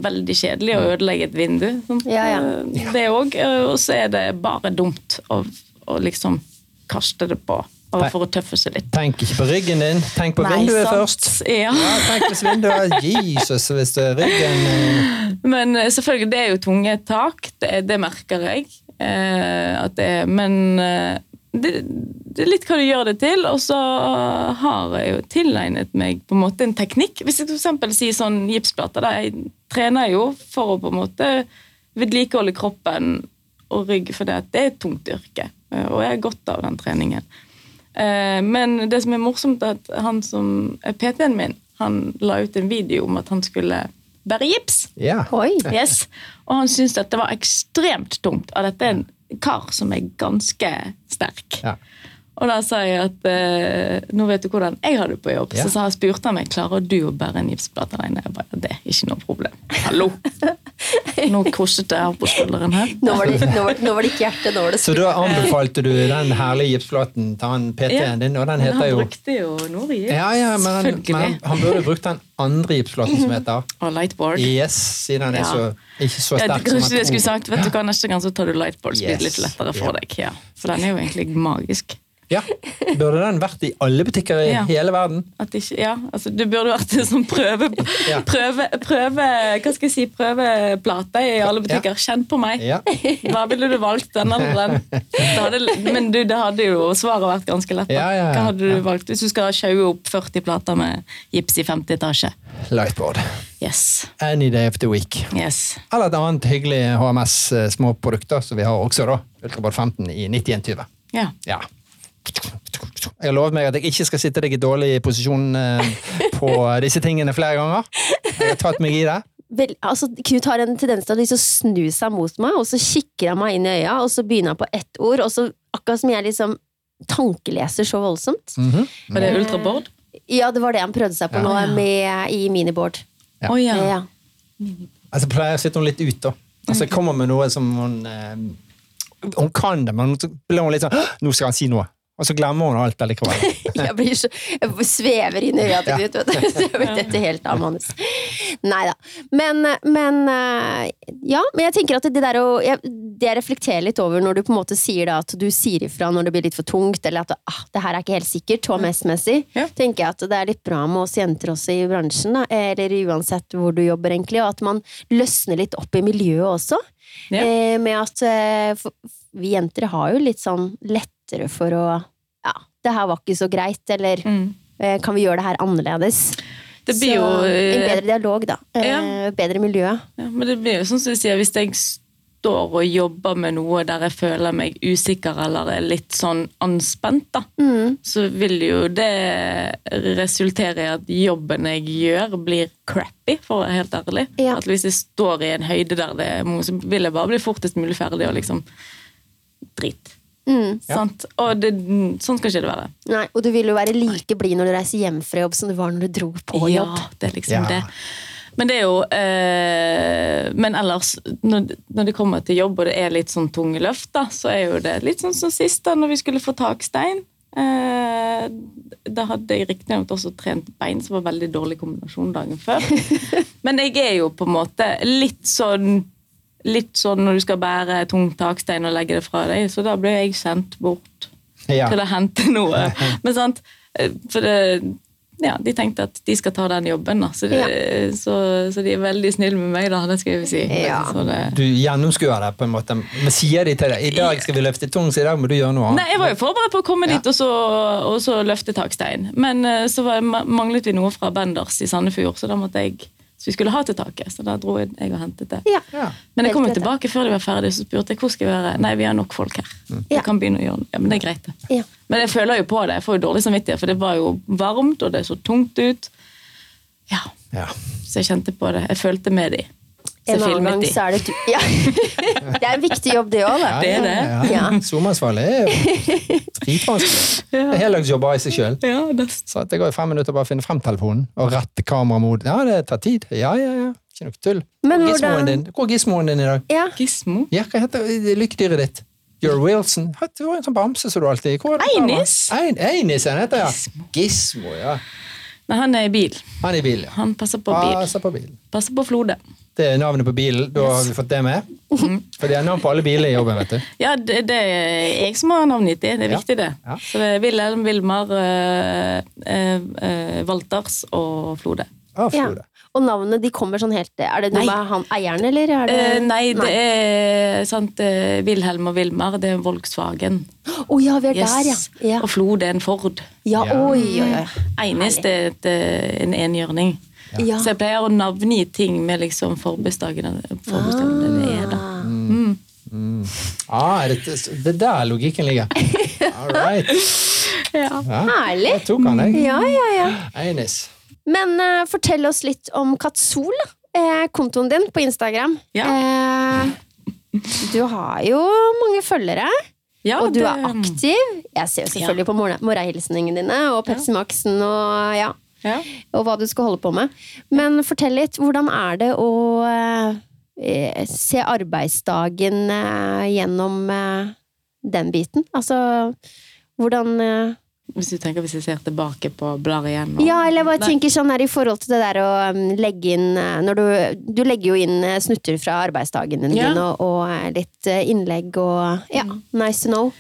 Speaker 3: veldig kjedelig å ødelegge et vindu. Sant?
Speaker 1: Ja, ja.
Speaker 3: Eh, Det òg. eh, Og så er det bare dumt å, å liksom kaste det på bare for å tøffe seg litt.
Speaker 2: Tenk ikke på ryggen din, tenk på
Speaker 1: Nei,
Speaker 2: vinduet
Speaker 3: Sant?
Speaker 2: først.
Speaker 3: Ja.
Speaker 2: Ja, tenk hvis vinduet Jesus, hvis det er ryggen eh,
Speaker 3: Men eh, selvfølgelig, det er jo tunge tak. Det, er- det merker jeg. Eh, at det er, men eh, det, det er litt hva du gjør det til. Og så har jeg jo tilegnet meg på en måte en teknikk. Hvis jeg f.eks. sier sånn gipsplater, da jeg trener jo for å på en måte vedlikeholde kroppen og rygg, for det, det er et tungt yrke. eh, Og jeg har godt av den treningen. Eh, Men det som er morsomt, er at han som er PT-en min, han la ut en video om at han skulle bære gips.
Speaker 2: Ja.
Speaker 1: Oi!
Speaker 3: Yes. Og han syntes dette var ekstremt tungt. Og dette er en kar som er ganske sterk.
Speaker 2: Ja.
Speaker 3: Og da sa jeg at eh, nå vet du hvordan jeg har det på jobb.
Speaker 2: Ja.
Speaker 3: Så sa jeg, spurte han meg klarer du å bære en gipsplate alene. Jeg bare, det er ikke noe problem. Hallo! Nå krosset jeg her på skulderen her.
Speaker 1: Nå var, det, nå, var, nå var det ikke hjerte, nå var det
Speaker 2: Så da anbefalte du den herlige gipsplaten til han
Speaker 3: Ja.
Speaker 2: PT-en din, og den
Speaker 3: Men
Speaker 2: heter
Speaker 3: han
Speaker 2: jo
Speaker 3: brukte jo Norgips.
Speaker 2: ja, ja, men, han, men han-
Speaker 3: Selvfølgelig.
Speaker 2: han burde brukt den andre gipsplaten som heter
Speaker 3: Og lightboard.
Speaker 2: Yes, siden han er
Speaker 3: Ja.
Speaker 2: så, ikke så
Speaker 3: Ja,
Speaker 2: sterk
Speaker 3: det, kanskje jeg skulle
Speaker 2: tror.
Speaker 3: sagt, vet du hva, Neste gang så tar du lightboard, så blir det litt
Speaker 2: Yes.
Speaker 3: lettere for
Speaker 2: Ja.
Speaker 3: deg. Ja. For den er jo egentlig magisk.
Speaker 2: Ja, Burde den vært i alle butikker i
Speaker 3: Ja.
Speaker 2: hele verden?
Speaker 3: At det ikke, ja, altså Det burde vært en sånn prøve,
Speaker 2: Ja.
Speaker 3: prøve, prøve Hva skal jeg si, prøveplate i alle butikker. Kjenn på meg.
Speaker 2: Ja.
Speaker 3: Hva ville du valgt? Den eller den? Det hadde, men du, det hadde jo svaret vært ganske lett. da.
Speaker 2: Ja, ja, ja.
Speaker 3: Hva hadde du valgt hvis du skal sjaue opp 40 plater med gips i 50 etasje?
Speaker 2: Lightboard.
Speaker 3: Yes.
Speaker 2: Any day of the week.
Speaker 3: yes.
Speaker 2: Eller et annet hyggelig HMS-småprodukter eh, som vi har også, da. Ultrabad 15 i 9120.
Speaker 3: Ja.
Speaker 2: Ja. Jeg har lovet meg at jeg ikke skal sitte deg i dårlig posisjon eh, på disse tingene flere ganger. Jeg har tatt meg i det.
Speaker 1: Vel, altså, Knut har en tendens til å liksom snu seg mot meg, og så kikker han meg inn i øya, og så begynner han på ett ord, og så akkurat som jeg liksom tankeleser så voldsomt.
Speaker 2: Mhm.
Speaker 3: Var det ultraboard?
Speaker 1: Ja, det var det han prøvde seg på
Speaker 2: Ja.
Speaker 1: nå, med, i miniboard.
Speaker 2: Ja.
Speaker 3: Å ja.
Speaker 1: Ja. Ja.
Speaker 2: Altså, pleier å sitte hun litt ut, da. Altså, jeg kommer med noe som hun eh, Hun kan det, men så blir hun litt sånn «Hå! Nå skal han si noe! Og så glemmer hun alt allikevel.
Speaker 1: Jeg blir så Jeg svever inn i øya til Knut, vet du. Så jeg vet dette helt av manus. Nei da. Men, men eh, Ja, men jeg tenker at det der å jeg, Det jeg reflekterer litt over når du på en måte sier da at du sier ifra når det blir litt for tungt, eller at ah, det her er ikke helt sikkert HMS-messig,
Speaker 3: Mm. Ja.
Speaker 1: tenker jeg at det er litt bra med oss jenter også i bransjen, da, eller uansett hvor du jobber, egentlig, og at man løsner litt opp i miljøet også.
Speaker 3: Ja.
Speaker 1: Eh, med at eh, for, vi jenter har jo litt sånn lettere for å Ja, det her var ikke så greit, eller
Speaker 3: Mm.
Speaker 1: eh, kan vi gjøre det her annerledes?
Speaker 3: Det blir jo
Speaker 1: så, En
Speaker 3: eh,
Speaker 1: bedre dialog, da. Eh,
Speaker 3: Ja.
Speaker 1: Bedre miljø.
Speaker 3: Ja, men det blir jo sånn som du sier, hvis jeg står og jobber med noe der jeg føler meg usikker eller er litt sånn anspent, da, så vil jo det resultere i at jobben jeg gjør, blir crappy, for å være helt ærlig.
Speaker 1: Ja.
Speaker 3: At hvis jeg står i en høyde der det er noe, så vil jeg bare bli fortest mulig ferdig og liksom drit. Sant? Og det, sånn skal ikke det være.
Speaker 1: Nei, og du vil jo være like blid når du reiser hjem fra jobb som du var når du dro på jobb.
Speaker 3: Ja, det er liksom
Speaker 2: Ja.
Speaker 3: det. Men det er jo eh, Men ellers, når, når det kommer til jobb, og det er litt sånn tunge løft, da, så er jo det litt sånn som sist, da når vi skulle få takstein. Eh, da hadde jeg riktignok også trent bein, som var veldig dårlig kombinasjon dagen før. Men jeg er jo på en måte litt sånn Litt sånn når du skal bære tung takstein og legge det fra deg, så da ble jeg sendt bort
Speaker 2: Ja.
Speaker 3: til å hente noe. Men sant, eh, for det, ja, de tenkte at de skal ta den jobben. Da. Så, det, så, så de er veldig snille med meg, da. Det skal jeg jo si.
Speaker 1: Ja.
Speaker 3: Så det,
Speaker 2: Du gjennomskuer det på en måte. Men sier de til deg i dag skal vi løfte tung, så i dag må du gjøre noe
Speaker 3: Nei,
Speaker 2: annet.
Speaker 3: Jeg var jo forberedt på å komme
Speaker 2: Ja.
Speaker 3: dit og så, og så løfte takstein. Men eh, så var, ma- manglet vi noe fra Benders i Sandefjord, så da måtte jeg så vi skulle ha til taket. Så da dro jeg jeg og hentet det.
Speaker 1: Ja.
Speaker 2: Ja.
Speaker 3: Men jeg kom jo
Speaker 1: Helt rett, ja.
Speaker 3: tilbake før de var ferdige, så spurte jeg hvor skal jeg være. Nei, vi har nok folk her.
Speaker 1: Mm. Ja.
Speaker 3: Jeg kan begynne å gjøre det. Ja, men det er greit, det.
Speaker 1: Ja.
Speaker 3: Men jeg føler jo på det. Jeg får jo dårlig samvittighet, for det var jo varmt, og det så tungt ut. Ja,
Speaker 2: Ja.
Speaker 3: Så jeg kjente på det. Jeg følte med de.
Speaker 1: En
Speaker 3: Så jeg
Speaker 1: annen
Speaker 3: filmet
Speaker 1: gang
Speaker 3: de.
Speaker 1: så er det du. Ja. Det er en viktig jobb, det òg.
Speaker 2: Ja,
Speaker 3: Det er
Speaker 2: ja,
Speaker 1: det.
Speaker 2: ja.
Speaker 1: Ja.
Speaker 2: Zoom-ansvarlig er jo dritvanskelig. Det er heldagsjobber i seg sjøl.
Speaker 3: Ja, det
Speaker 2: Så at det går i fem minutter bare å finne frem telefonen og rette kameraet mot Ja, det tar tid. Ja, ja, ja. Ikke noe tull.
Speaker 1: Men
Speaker 2: Hvor er gismoen
Speaker 1: hvordan-
Speaker 2: din? Hvor er gismoen din i dag?
Speaker 1: Ja.
Speaker 3: Gismo.
Speaker 2: Ja, hva heter lykkedyret ditt? Your Wilson. Hæ, Du har en sånn bamse som du alltid Hvor er det kameraet?
Speaker 3: Einis.
Speaker 2: Ein, Einis, han heter ja.
Speaker 3: Gismo.
Speaker 2: Gismo, ja.
Speaker 3: Nei, han er i bil.
Speaker 2: Han er i bil, ja.
Speaker 3: Han passer
Speaker 1: Ah,
Speaker 3: på bil.
Speaker 2: Passer på bilen.
Speaker 3: Passer på Flode.
Speaker 2: Det er navnet på bilen. Da har vi fått det med. For de har navn på alle biler i jobben, vet du.
Speaker 3: Ja, det, det er jeg som har navngitt det. Det er
Speaker 2: Ja.
Speaker 3: viktig, det.
Speaker 2: Ja.
Speaker 3: Så det er Wilhelm, Vilmar, eh, eh, eh, Walters og Flode.
Speaker 2: Å,
Speaker 1: ja.
Speaker 2: Frode.
Speaker 1: Og navnet de kommer sånn helt Er det noe
Speaker 3: Nei.
Speaker 1: med han eieren, eller? Er det...
Speaker 3: Eh, nei, det er sant, eh, Wilhelm og Vilmar, det er Volkswagen.
Speaker 1: Å ja, vi er
Speaker 3: Yes.
Speaker 1: der, ja.
Speaker 3: Og Flode er en Ford.
Speaker 1: Ja, ja.
Speaker 2: Ja.
Speaker 1: oi, oi, oi.
Speaker 3: Eines det er et, eh, en enhjørning.
Speaker 1: Ja.
Speaker 3: Så jeg pleier å navngi ting med liksom forbudstagene forbudstagene det er, da.
Speaker 2: Ah, er det, det er der logikken ligger. All right.
Speaker 3: Ja.
Speaker 2: Ja.
Speaker 1: Herlig.
Speaker 2: Jeg tok han, jeg.
Speaker 1: Ja, ja, ja.
Speaker 2: Einis.
Speaker 1: Men eh, fortell oss litt om Katsol, da. Eh, kontoen din på Instagram.
Speaker 3: Ja.
Speaker 1: Eh, du har jo mange følgere,
Speaker 3: Ja,
Speaker 1: og du
Speaker 3: det-
Speaker 1: er aktiv. Jeg ser jo selvfølgelig på morgen- morgenhilsningene dine og Pepsi Max-en og, ja,
Speaker 3: Ja.
Speaker 1: og hva du skal holde på med. Men fortell litt, hvordan er det å eh, se arbeidsdagen eh, gjennom eh, den biten? Altså, hvordan eh,
Speaker 3: Hvis du tenker hvis jeg ser tilbake på blar igjen og-
Speaker 1: ja, eller jeg bare
Speaker 3: Nei.
Speaker 1: tenker sånn her i forhold til det der å um, legge inn eh, når du, du legger jo inn eh, snutter fra arbeidsdagen din
Speaker 3: Ja. Mm.
Speaker 1: og, og eh, litt eh, innlegg og Ja, nice to know.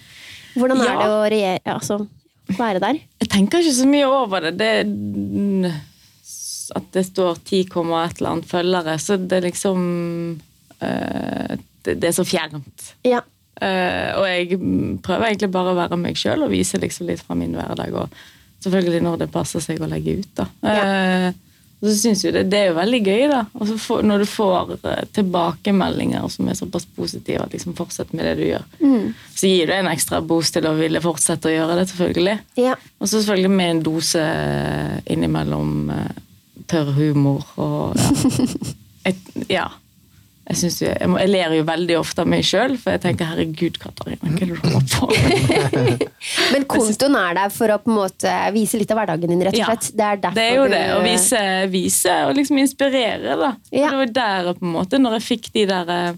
Speaker 1: Hvordan er
Speaker 3: Ja.
Speaker 1: det å regjere, altså, være der?
Speaker 3: Jeg tenker ikke så mye over det. det mm, s- at det står 10, komma et eller annet følgere, så det er liksom eh, det, det er så fjernt.
Speaker 1: Ja.
Speaker 3: Eh, og jeg mm, prøver egentlig bare å være meg sjøl og vise liksom litt fra min hverdag. Og selvfølgelig når det passer seg å legge ut. da. Eh, og så synes jo det, det er jo veldig gøy, da. Og så får, når du får eh, tilbakemeldinger som er såpass positive at liksom fortsett med det du gjør, så gir det en ekstra boost til å ville fortsette å gjøre det, selvfølgelig.
Speaker 1: ja.
Speaker 3: Og så selvfølgelig med en dose innimellom eh, tørr humor og Ja. Jeg, ja. jeg, synes jo, jeg, må, jeg ler jo veldig ofte av meg sjøl, for jeg tenker 'herregud, Katarina, hva er det du holder på med?'
Speaker 1: Men kontoen er der for å på en måte vise litt av hverdagen din, rett og
Speaker 3: Ja,
Speaker 1: slett. Det er derfor
Speaker 3: det er jo
Speaker 1: du eh,
Speaker 3: det. Å vise, vise og liksom inspirere, da. Og
Speaker 1: Ja.
Speaker 3: Det var der, på en måte, når jeg fikk de der eh,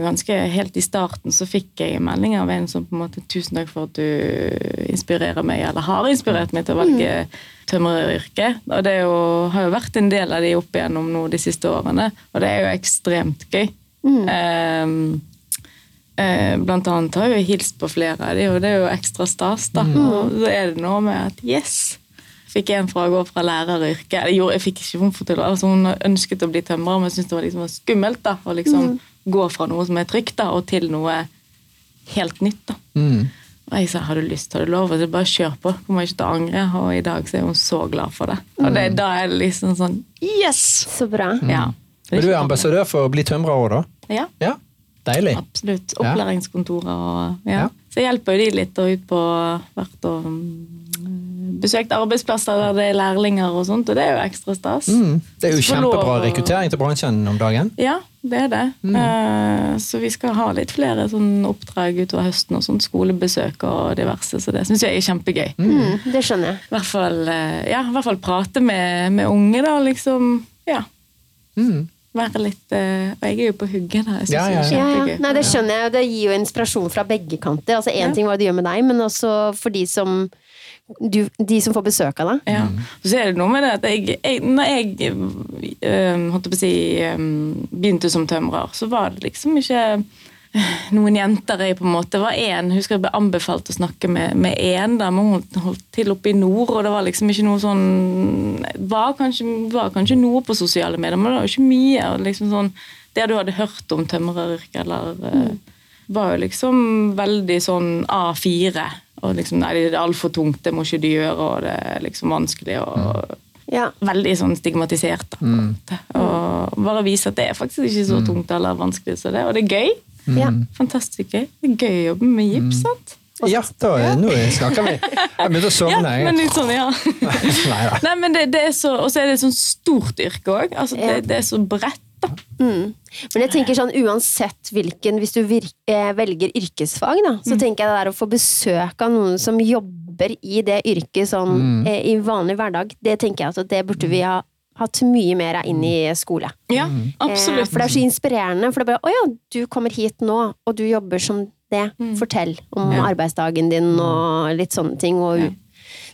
Speaker 3: Ganske helt i starten så fikk jeg en melding av en som på en måte 'Tusen takk for at du inspirerer meg, eller har inspirert meg til å
Speaker 1: Mm.
Speaker 3: velge tømreryrket'. Og det er jo, har jo vært en del av de opp igjennom nå de siste årene, og det er jo ekstremt gøy.
Speaker 1: Mm.
Speaker 3: Eh, Eh, Blant annet har jeg jo hilst på flere av de, og det er jo ekstra stas. da.
Speaker 1: Mm.
Speaker 3: Og så er det noe med at yes! Fikk en fra å gå fra læreryrket Eller jo, jeg fikk ikke hun for til det. Altså, hun ønsket å bli tømrer, men syntes det var liksom skummelt da, å liksom gå fra noe som er trygt, da, og til noe helt nytt. da.
Speaker 2: Mm.
Speaker 3: Og jeg sa har du lyst, har du lov? Og så bare kjør på. Kommer ikke til å angre. Og i dag så er hun så glad for det. Og
Speaker 2: Mm.
Speaker 3: det, da er det liksom sånn yes!
Speaker 1: Så bra.
Speaker 3: Ja.
Speaker 2: Men du er ambassadør for å bli tømrer òg, da?
Speaker 3: Ja.
Speaker 2: Ja. Deilig.
Speaker 3: Absolutt.
Speaker 2: Ja.
Speaker 3: Opplæringskontorer og ja.
Speaker 2: Ja.
Speaker 3: Så jeg hjelper jo de litt og ut på hvert og mm, besøkt arbeidsplasser der det er lærlinger og sånt, og det er jo ekstra stas.
Speaker 2: Mm. Det er jo
Speaker 3: Så får lov
Speaker 2: kjempebra
Speaker 3: å-
Speaker 2: rekruttering til bransjen om dagen.
Speaker 3: Ja, det er det. Eh, så vi skal ha litt flere sånn oppdrag utover høsten og sånt, skolebesøk og diverse, så det syns jeg er kjempegøy.
Speaker 1: Mm, det skjønner jeg.
Speaker 3: I hvert fall, eh, ja, i hvert fall prate med, med unge, da, liksom. Ja.
Speaker 2: Mm.
Speaker 3: Være litt eh, Og jeg er jo på hugget, da. Jeg syns
Speaker 2: Ja, ja,
Speaker 3: det
Speaker 1: Ja,
Speaker 3: er
Speaker 1: ja.
Speaker 3: kjempegøy.
Speaker 1: Nei, det skjønner jeg. og Det gir jo inspirasjon fra begge kanter. Altså Én
Speaker 3: Ja.
Speaker 1: ting hva det gjør med deg, men også for de som, du, de som får besøk av deg.
Speaker 3: Ja. Og Så er det noe med det at jeg, jeg når jeg øhm, holdt jeg på å si, øhm, begynte som tømrer, så var det liksom ikke noen jenter jeg på en måte var én. Hun skal bli anbefalt å snakke med, med én. Da. Men hun holdt- holdt til oppe i nord, og det var liksom ikke noe sånn Var kanskje, var kanskje noe på sosiale medier, men det var jo ikke mye. Og liksom sånn, det du hadde hørt om tømreryrket, eller eh, var jo liksom veldig sånn A4. Og liksom Nei, det er altfor tungt, det må ikke du gjøre, og det er liksom vanskelig. og
Speaker 1: Ja.
Speaker 3: veldig sånn stigmatisert. Da, på en måte. Og bare vise at det er faktisk ikke så tungt eller vanskelig som det. Og det er gøy.
Speaker 1: ja.
Speaker 3: Mm. Fantastisk gøy. Det er gøy å jobbe med gips. sant?
Speaker 2: Ja, da, nå snakker vi. Jeg begynte å
Speaker 3: Ja,
Speaker 2: sovne.
Speaker 3: men
Speaker 2: jeg.
Speaker 3: litt sånn, ja.
Speaker 2: Nei da.
Speaker 3: Nei, men det, det er så, Og så er det et sånt stort yrke òg. Altså,
Speaker 1: Ja.
Speaker 3: det, det er så bredt. da.
Speaker 1: Men jeg tenker sånn, uansett hvilken, hvis du virk, eh, velger yrkesfag, da, så tenker jeg det der å få besøk av noen som jobber i det yrket sånn, eh, i vanlig hverdag, det tenker jeg at det burde vi ha hatt mye mer av inn i skole.
Speaker 3: Ja,
Speaker 1: Eh,
Speaker 3: absolutt.
Speaker 1: for det er så inspirerende. For det er bare 'Å ja, du kommer hit nå, og du jobber som det'.
Speaker 3: Mm.
Speaker 1: Fortell om
Speaker 3: Ja.
Speaker 1: arbeidsdagen
Speaker 3: Mm.
Speaker 1: din og litt sånne ting. Og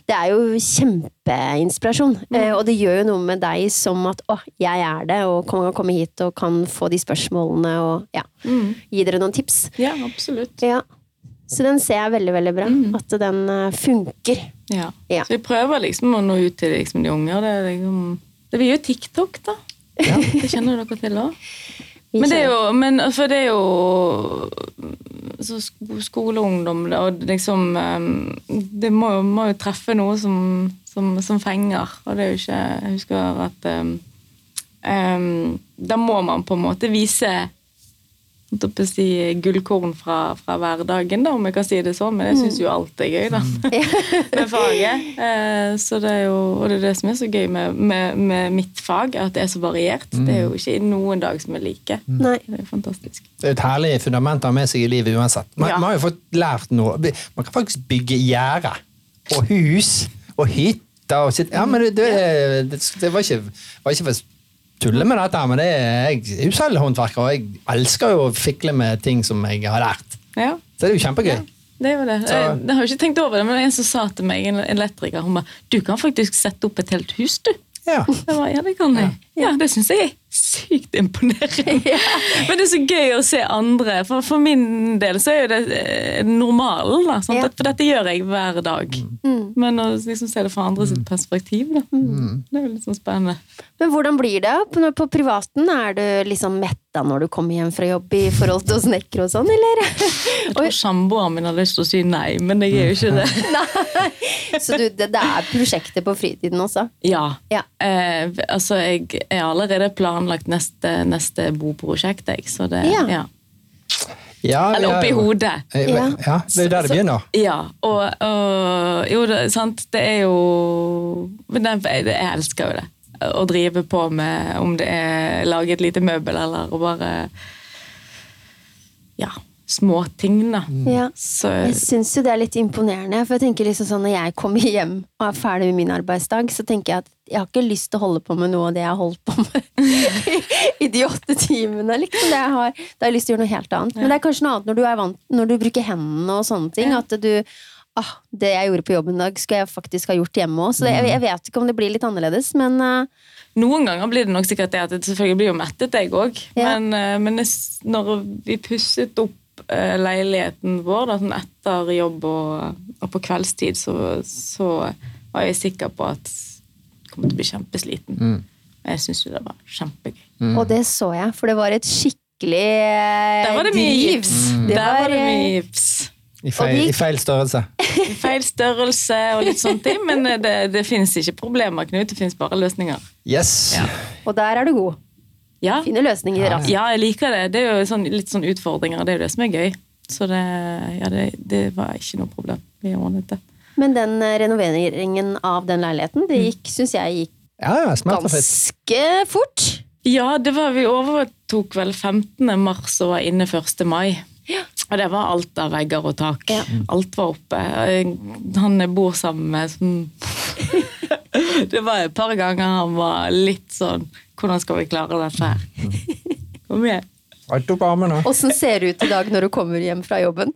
Speaker 1: Det er jo kjempeinspirasjon.
Speaker 3: Mm.
Speaker 1: Eh, og det gjør jo noe med deg som at 'Å, jeg er det', og kan komme hit og kan få de spørsmålene og ja,
Speaker 3: Mm.
Speaker 1: gi dere noen tips.
Speaker 3: Ja, absolutt.
Speaker 1: Ja. Så den ser jeg veldig, veldig bra.
Speaker 3: Mm.
Speaker 1: At den eh, funker.
Speaker 3: Ja.
Speaker 1: Ja.
Speaker 3: Så vi prøver liksom å nå ut til liksom, de unge. Og det, er liksom, det blir jo TikTok, da. Det kjenner jo dere til òg.
Speaker 1: Vi
Speaker 3: Men det er
Speaker 1: kjenner-
Speaker 3: jo, men, for det er jo så sko- skoleungdom det, og liksom eh, Det må jo, må jo treffe noe som, som, som fenger. Og det er jo ikke Jeg husker at eh, eh, Da må man på en måte vise holdt jeg på å si, gullkorn fra, fra hverdagen, da, om jeg kan si det sånn. Men jeg syns jo alt er gøy, da. med faget. Eh, Så det er jo, og det er det som er så gøy med, med, med mitt fag, at det er så variert. Det er jo ikke noen dag som er like.
Speaker 1: Nei.
Speaker 3: Det er jo fantastisk.
Speaker 2: Det er jo et herlig fundament å ha med seg i livet uansett. Man,
Speaker 3: Ja.
Speaker 2: man har jo fått lært noe. Man kan faktisk bygge gjerde og hus og hytter og sitt. Ja, men det, det, det, det var ikke, var ikke for å tulle med dette, her, men det er, jeg er jo selv håndverker, og jeg elsker jo å fikle med ting som jeg har lært.
Speaker 3: Ja,
Speaker 2: Så det er jo kjempegøy.
Speaker 3: det er jo det.
Speaker 2: Så-
Speaker 3: Jeg, jeg har jo ikke tenkt over det, men det var en som sa til meg, en elektriker, hun ba, du kan faktisk sette opp et helt hus, du.
Speaker 2: Ja.
Speaker 3: Jeg ba, ja, det kan jeg. Ja, det syns jeg er sykt imponerende. Men det er så gøy å se andre. For, for min del så er jo det eh, normalen. Da, sant?
Speaker 1: Ja.
Speaker 3: At- For dette gjør jeg hver dag.
Speaker 2: Mm.
Speaker 3: Men å liksom se det fra andre sitt perspektiv, da. Det er jo litt sånn spennende.
Speaker 1: Men hvordan blir det på, når- på privaten? Er du liksom metta når du kommer hjem fra jobb i forhold til å snekre og sånn, eller?
Speaker 3: Jeg tror samboeren min har lyst til å si nei, men jeg er jo ikke det.
Speaker 1: Så du, det, det er prosjekter på fritiden også?
Speaker 3: Ja.
Speaker 1: Ja.
Speaker 3: Eh, altså, jeg er allerede planlagt neste, neste boprosjekt, jeg. Så det
Speaker 1: Ja.
Speaker 3: ja.
Speaker 2: Ja, vi
Speaker 3: Eller
Speaker 2: har
Speaker 3: oppi
Speaker 2: jo-
Speaker 3: hodet.
Speaker 2: Ja, det er jo der det begynner.
Speaker 3: Ja, og, og jo, det, sant, det er jo men det, jeg, jeg elsker jo det. Å drive på med om det er lage et lite møbel eller å bare Ja, småting, da.
Speaker 1: Ja.
Speaker 3: Mm. Så
Speaker 1: Jeg syns jo det er litt imponerende, for jeg tenker liksom sånn når jeg kommer hjem og er ferdig med min arbeidsdag, så tenker jeg at jeg har ikke lyst til å holde på med noe av det jeg har holdt på med i de åtte timene. liksom det jeg har. Da har jeg lyst til å gjøre noe helt annet. Men det er kanskje noe annet når du, er vant, når du bruker hendene og sånne ting. At du ah, Det jeg gjorde på jobb en dag, skulle jeg faktisk ha gjort hjemme òg. Så det,
Speaker 3: Mm.
Speaker 1: jeg, jeg vet ikke om det blir litt annerledes, men eh,
Speaker 3: Noen ganger blir det nok sikkert det at jeg selvfølgelig blir jo mettet, jeg òg.
Speaker 1: Ja.
Speaker 3: Men, eh, men jeg s- når vi pusset opp eh, leiligheten vår da, sånn etter jobb og, og på kveldstid, så, så var jeg sikker på at jeg kom til å bli kjempesliten. Men jeg syns jo det var kjempegøy.
Speaker 1: Og det så jeg, for det var et skikkelig eh,
Speaker 3: Mm. Der var det mye
Speaker 1: driv.
Speaker 3: gips!
Speaker 1: Det
Speaker 3: Der var det
Speaker 1: eh,
Speaker 3: mye gips.
Speaker 2: I feil, i feil størrelse.
Speaker 3: I Feil størrelse og litt sånne ting, men eh, det, det fins ikke problemer, Knut. Det fins bare løsninger.
Speaker 2: Yes.
Speaker 3: Ja.
Speaker 1: Og der er du god.
Speaker 3: Ja.
Speaker 1: Finner løsninger altså.
Speaker 2: Ja.
Speaker 1: raskt.
Speaker 3: Ja, jeg liker det. Det er jo sånn, litt sånn utfordringer, det er jo det som er gøy. Så det, ja, det, det var ikke noe problem. Vi ordnet det.
Speaker 1: Men den eh, renoveringen av den leiligheten, det gikk, syns jeg gikk
Speaker 2: Ja, ja, smertefritt.
Speaker 1: ganske fort.
Speaker 3: Ja, det var, vi overtok vel 15. mars og var inne 1. mai. Og det var alt av vegger og tak.
Speaker 1: Ja.
Speaker 3: Alt var oppe. Og Han jeg bor sammen med som Det var et par ganger han var litt sånn Hvordan skal vi klare dette her? Kom igjen.
Speaker 2: Alt opp armene.
Speaker 1: Åssen ser det ut i dag når du kommer hjem fra jobben?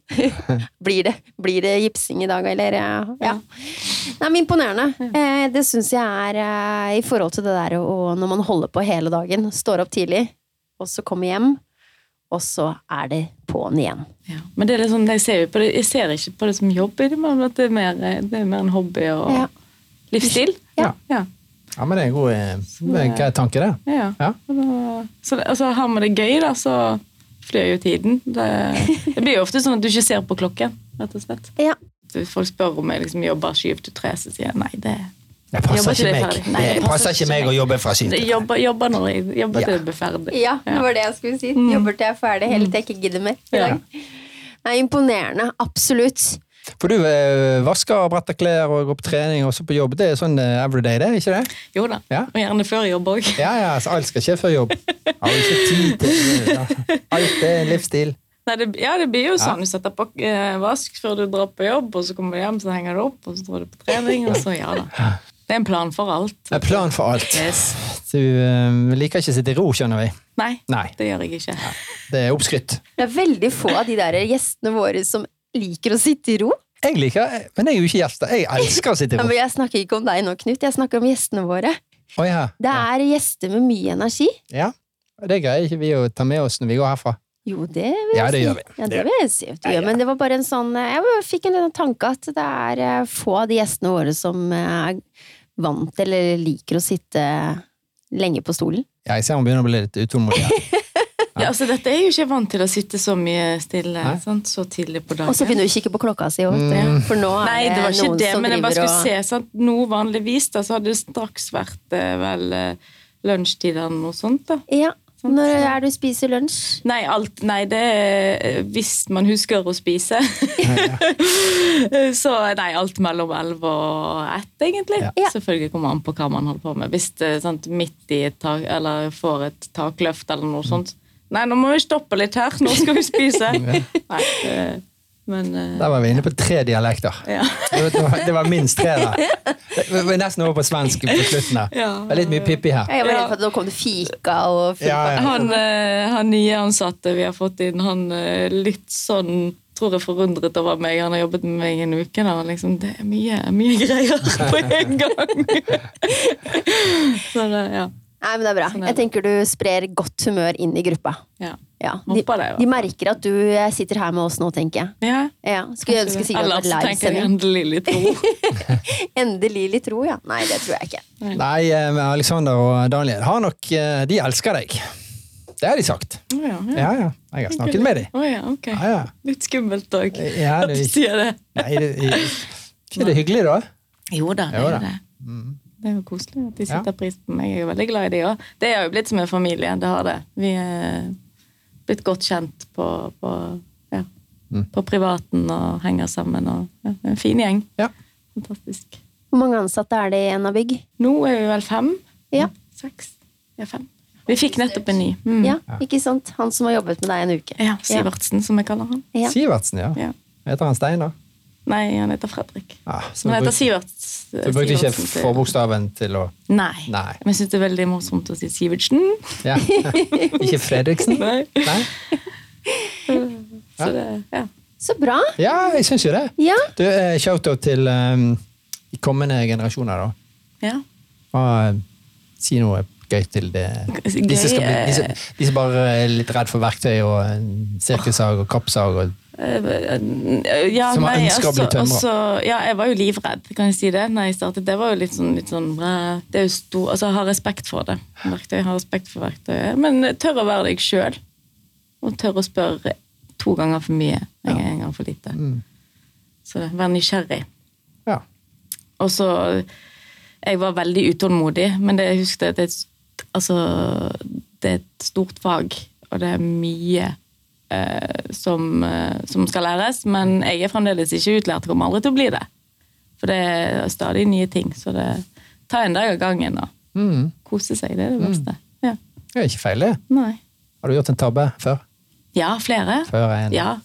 Speaker 1: Blir det, blir det gipsing i dag, eller? eh, Ja. Nei, men imponerende. Eh, Det syns jeg er eh, i forhold til det der å- å når man holder på hele dagen, står opp tidlig, og så kommer hjem, og så er det på'n igjen.
Speaker 3: Ja. Men det er litt sånn, jeg, ser jo på det, jeg ser ikke på det som jobb, i det, men at det er mer, eh, det er mer en hobby og
Speaker 1: Ja.
Speaker 3: livsstil.
Speaker 2: Ja.
Speaker 3: Ja.
Speaker 2: Ja, men det er en god eh, grei tanke, det.
Speaker 3: Ja.
Speaker 2: Ja.
Speaker 3: Og, da, så, og så har vi det gøy, da, så flyr jo tiden. Det, det blir jo ofte sånn at du ikke ser på klokken, rett og slett.
Speaker 1: Ja.
Speaker 3: Hvis folk spør om jeg liksom jobber syv til tre, så sier jeg nei, det,
Speaker 2: Det
Speaker 3: Jobber
Speaker 2: passer
Speaker 3: ikke
Speaker 2: ikke
Speaker 3: det
Speaker 2: meg.
Speaker 3: ferdig? Nei,
Speaker 2: Det passer ikke meg å jobbe fra syv
Speaker 3: det
Speaker 2: til tre.
Speaker 3: jobber, jobber når jeg
Speaker 2: Ja.
Speaker 3: jobber til det blir ferdig.
Speaker 1: Ja, Mm. det var det jeg skulle si. Jobber til jeg er ferdig, helt til jeg ikke gidder mer. i
Speaker 3: Ja.
Speaker 1: dag. Nei, imponerende. Absolutt.
Speaker 2: For du eh, vasker og bretter klær og går på trening og så på jobb. Det er sånn eh, everyday, det, er ikke det?
Speaker 3: Jo da.
Speaker 2: Ja.
Speaker 3: Og gjerne før jobb òg.
Speaker 2: Ja, ja, altså, alt skal skje før jobb. Har jo ikke tid til ja. Alt er en livsstil.
Speaker 3: Nei, det, ja, det blir jo sånn. Du setter på eh, vask før du drar på jobb, og så kommer du hjem, så henger du opp, og så drar du på trening, og så ja da. Det er en plan for alt.
Speaker 2: Det er plan for alt.
Speaker 3: Yes.
Speaker 2: Du eh, liker ikke å sitte i ro, skjønner vi.
Speaker 3: Nei,
Speaker 2: Nei.
Speaker 3: det gjør jeg ikke.
Speaker 2: Det er oppskrytt.
Speaker 1: Det er veldig få av de der gjestene våre som liker å sitte i ro.
Speaker 2: Jeg liker, men jeg er jo ikke gjest. da. Jeg elsker å sitte i
Speaker 1: Ja,
Speaker 2: ro.
Speaker 1: men jeg snakker ikke om deg nå, Knut. Jeg snakker om gjestene våre.
Speaker 2: Å, ja.
Speaker 1: Det er gjester med mye energi.
Speaker 2: Ja. Det greier ikke vi å ta med oss når vi går herfra.
Speaker 1: Jo, det vil jeg
Speaker 2: Ja, det
Speaker 1: si.
Speaker 2: gjør vi.
Speaker 1: Ja, det
Speaker 2: Det-
Speaker 1: vil jeg si. at Du,
Speaker 2: Ja,
Speaker 1: gjør,
Speaker 2: ja.
Speaker 1: Men det var bare en sånn eh, Jeg bare fikk en liten tanke at det er eh, få av de gjestene våre som eh, er vant til eller liker å sitte lenge på stolen.
Speaker 2: Ja, jeg ser hun begynner å bli litt utålmodig. her.
Speaker 3: Ja, altså, dette er jo ikke vant til å sitte så mye stille
Speaker 2: Nei.
Speaker 3: sant? så tidlig på dagen.
Speaker 1: Og så begynner du å kikke på klokka si òg,
Speaker 2: Mm.
Speaker 1: for nå er
Speaker 3: Nei, det var ikke
Speaker 1: noen
Speaker 3: det,
Speaker 1: som
Speaker 3: men jeg bare
Speaker 1: driver
Speaker 3: skulle
Speaker 1: og
Speaker 3: se. Sant? Noe vanligvis da, så hadde det straks vært eh, vel eh, lunsjtid eller noe sånt. da.
Speaker 1: Ja. Når er det du spiser lunsj?
Speaker 3: Nei, alt, nei, det er eh, hvis man husker å spise. så nei, alt mellom elv og ett, egentlig.
Speaker 1: Ja.
Speaker 3: Selvfølgelig kommer an på hva man holder på med. Hvis det sant, midt i et tak, eller får et takløft eller noe sånt. Nei, nå må vi stoppe litt her, nå skal vi spise. nei, eh, men eh,
Speaker 2: Der var vi inne på tre dialekter.
Speaker 3: Ja.
Speaker 2: Det, var, det var minst tre der. Vi er nesten over på svensk på slutten her.
Speaker 3: Ja.
Speaker 2: Det er litt mye pippi her.
Speaker 1: Jeg var
Speaker 3: Ja.
Speaker 1: redd for at nå kom det fika og full
Speaker 2: Ja, ja.
Speaker 3: han, eh, han nye ansatte vi har fått inn, han eh, litt sånn tror jeg forundret over meg. Han har jobbet med meg en uke. Da. og Liksom, det er mye, mye greier på en gang. Så det, ja.
Speaker 1: Nei, men det er bra.
Speaker 3: Sånn er
Speaker 1: Jeg tenker du sprer godt humør inn i gruppa.
Speaker 3: ja.
Speaker 1: Ja, de,
Speaker 3: Håper det, i
Speaker 1: de
Speaker 3: hvert fall.
Speaker 1: merker at du eh, sitter her med oss nå, tenker jeg.
Speaker 3: ja.
Speaker 1: Ja, Skulle ønske sikkert
Speaker 3: Ellers
Speaker 1: at det var
Speaker 3: tenker jeg
Speaker 1: livesending.
Speaker 3: endelig litt ro.
Speaker 1: Endelig litt ro, ja. Nei, det tror jeg ikke.
Speaker 2: Nei, eh, men Alexander og Daniel har nok eh, De elsker deg. Det har de sagt.
Speaker 3: Å ja, ja.
Speaker 2: Ja, ja. Jeg har snakket med dem.
Speaker 3: Å ja, ok.
Speaker 2: Ja, ja.
Speaker 3: Litt skummelt òg,
Speaker 2: Ja,
Speaker 3: at
Speaker 2: det-
Speaker 3: du sier det.
Speaker 2: Nei, det, ikke det hyggelig, da?
Speaker 3: Jo da, det
Speaker 2: Jo
Speaker 3: er
Speaker 2: da.
Speaker 3: jo det. Det er jo koselig at de
Speaker 2: Ja.
Speaker 3: setter pris på meg. Jeg er jo veldig glad i de òg. Det er jo blitt som en familie. det har det. Vi er blitt godt kjent på, på, ja,
Speaker 2: Mm.
Speaker 3: på privaten og henger sammen. Og, ja, en fin gjeng.
Speaker 2: Ja.
Speaker 3: Fantastisk.
Speaker 1: Hvor mange ansatte er det i en av bygg?
Speaker 3: Nå er vi vel fem?
Speaker 1: Ja.
Speaker 3: Seks? Ja, fem. Vi fikk nettopp en ny. Mm.
Speaker 1: ja, ikke sant? Han som har jobbet med deg en uke.
Speaker 3: Ja, Sivertsen, som jeg kaller han.
Speaker 1: Ja.
Speaker 2: Sivertsen, ja.
Speaker 3: Ja.
Speaker 2: Heter han Steinar?
Speaker 3: Nei, han heter Fredrik.
Speaker 2: Ja, Ah, så
Speaker 3: Men han
Speaker 2: du
Speaker 3: heter
Speaker 2: bruk-
Speaker 3: Siverts.
Speaker 2: du brukte ikke
Speaker 3: Sivertsen til-
Speaker 2: forbokstaven til å
Speaker 3: Nei.
Speaker 2: Nei.
Speaker 3: Men jeg syns det er veldig morsomt å si Sivertsen.
Speaker 2: ja. Ikke Fredriksen?
Speaker 3: Nei.
Speaker 2: Nei?
Speaker 3: Så det, ja.
Speaker 1: Så bra!
Speaker 2: Ja, jeg syns jo det.
Speaker 1: Ja.
Speaker 2: Du, eh, Shout-out til eh, de kommende generasjoner, da.
Speaker 3: ja.
Speaker 2: Hva- si noe gøy til det.
Speaker 3: Gøy,
Speaker 2: de, som skal bli, de,
Speaker 3: eh.
Speaker 2: som, de som bare er litt redd for verktøy og eh, sirkelsag og kappsag. Og,
Speaker 3: Eh, ja,
Speaker 2: Som har
Speaker 3: nei,
Speaker 2: ønsket å bli
Speaker 3: altså-
Speaker 2: tømrer.
Speaker 3: altså, ja, jeg var jo livredd, kan jeg si det, når jeg startet. Det var jo litt sånn, litt sånn eh, Det er jo stor Altså, jeg har respekt for det. Verktøy, jeg har respekt for verktøyet. Men eh, tør å være deg sjøl. Og tør å spørre to ganger for mye enn en gang for lite.
Speaker 2: Mm.
Speaker 3: Så vær nysgjerrig.
Speaker 2: ja.
Speaker 3: Og så Jeg var veldig utålmodig, men det, jeg husker at det, er et st- altså, det er et stort fag, og det er mye eh, som, eh, som skal læres. Men jeg er fremdeles ikke utlært, kommer aldri til å bli det. For det er stadig nye ting. Så det ta en dag av gangen og
Speaker 2: Mm.
Speaker 3: kose seg. Det er det verste. Ja.
Speaker 2: Det er ikke feil, det.
Speaker 3: Nei.
Speaker 2: Har du gjort en tabbe før?
Speaker 3: Ja, flere.
Speaker 2: Før er en-
Speaker 3: Ja.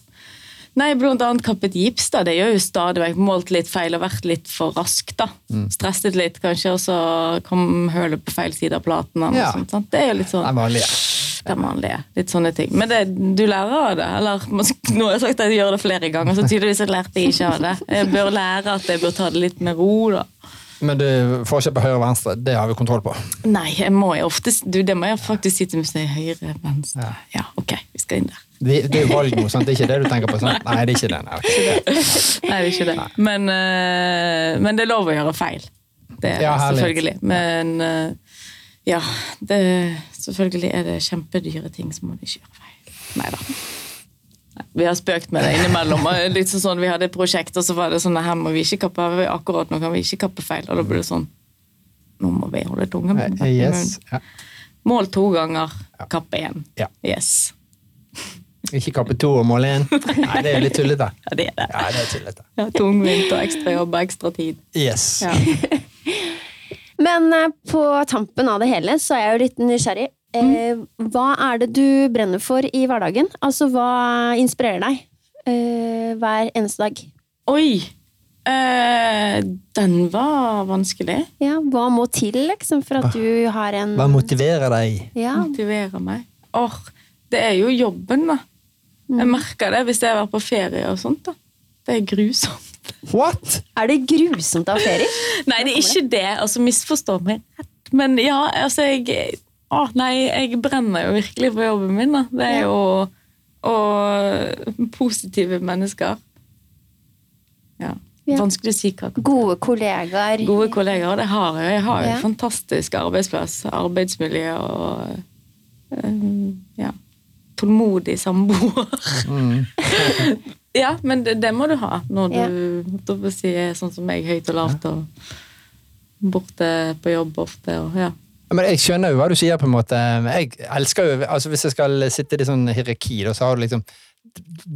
Speaker 3: Nei, blant annet kappet gips. da, Det gjør jo stadig vekk. Målt litt feil og vært litt for rask. da.
Speaker 2: Mm.
Speaker 3: Stresset litt, kanskje, og så kom hølet på feil side av platen. eller noe
Speaker 2: Ja.
Speaker 3: sånt, sant? Det er jo litt
Speaker 2: Det er
Speaker 3: sånn
Speaker 2: vanlig. ja.
Speaker 3: den vanlige. Litt sånne ting. Men det, du lærer av det. eller man sk- Nå har jeg sagt at jeg gjør det flere ganger, så tydeligvis jeg lærte jeg ikke av det. Jeg bør lære at jeg bør ta det litt med ro. da.
Speaker 2: Men du, forskjell på høyre og venstre, det har vi kontroll på.
Speaker 3: Nei, jeg må jo ofte, du, det må jeg faktisk si til meg selv. Høyre, venstre. Ja, ok. Hvis skal inn der.
Speaker 2: Det, det er jo valgmord, sant? Det er ikke det du tenker på? sant? Nei, det er ikke det. Nei, ok.
Speaker 3: Nei, det er ikke det. Men, eh, men det er lov å gjøre feil. Det er
Speaker 2: Ja,
Speaker 3: det
Speaker 2: herlig.
Speaker 3: selvfølgelig. Men eh, ja, det, selvfølgelig er det kjempedyre ting, så må du ikke gjøre feil. Nei da. Vi har spøkt med det innimellom. og Litt sånn sånn, Vi hadde et prosjekt, og så var det sånn her må vi ikke kappe akkurat nå kan vi ikke kappe feil. Og da ble det sånn Nå må vi holde tunga
Speaker 2: Nei,
Speaker 3: med
Speaker 2: Eh, Yes. Ja.
Speaker 3: Mål to ganger, kappe én.
Speaker 2: Ja.
Speaker 3: Yes.
Speaker 2: Ikke kappe to og måle én. Nei, det er jo litt tullete.
Speaker 3: Ja, det er det.
Speaker 2: Ja, det er tullete.
Speaker 3: Ja, Tungvint og ekstra jobb og ekstra tid.
Speaker 2: Yes.
Speaker 3: Ja.
Speaker 1: Men eh, på tampen av det hele så er jeg jo litt nysgjerrig.
Speaker 3: Mm.
Speaker 1: Eh, hva er det du brenner for i hverdagen? Altså, hva inspirerer deg eh, hver eneste dag?
Speaker 3: Oi! Eh, den var vanskelig.
Speaker 1: Ja, hva må til liksom, for at du har en
Speaker 2: Ah. Hva motiverer deg?
Speaker 1: Ja,
Speaker 3: Motiverer meg. Or, det er jo jobben, da.
Speaker 1: Mm.
Speaker 3: Jeg merker det hvis jeg har vært på ferie og sånt. da. Det er grusomt.
Speaker 2: What?!
Speaker 1: Er det grusomt å ha ferie?
Speaker 3: Nei, det er ikke det. Altså, misforstå meg rett. Men ja, altså, jeg Å, nei, jeg brenner jo virkelig for jobben min, da. Det er
Speaker 1: Ja.
Speaker 3: jo Og positive mennesker. Ja.
Speaker 1: Ja.
Speaker 3: Vanskelig å si hva
Speaker 1: Gode kollegaer.
Speaker 3: Gode kollegaer, det har jeg. Jeg har jo
Speaker 1: Ja.
Speaker 3: en fantastisk arbeidsplass, arbeidsmiljø og eh, ja, tålmodig samboer. ja, men det, det må du ha når
Speaker 1: Mm. Ja.
Speaker 3: du holdt jeg på å si, er sånn som meg, høyt og lavt og borte på jobb ofte. Og, ja.
Speaker 2: Ja, Men jeg skjønner jo hva du sier, på en måte. Jeg elsker jo, altså Hvis jeg skal sitte i det sånn hierarki, da, så har du liksom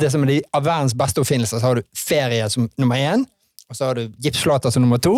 Speaker 2: det som er de, Av verdens beste oppfinnelser så har du ferie som nummer én. Og så har du gipsflater som nummer to.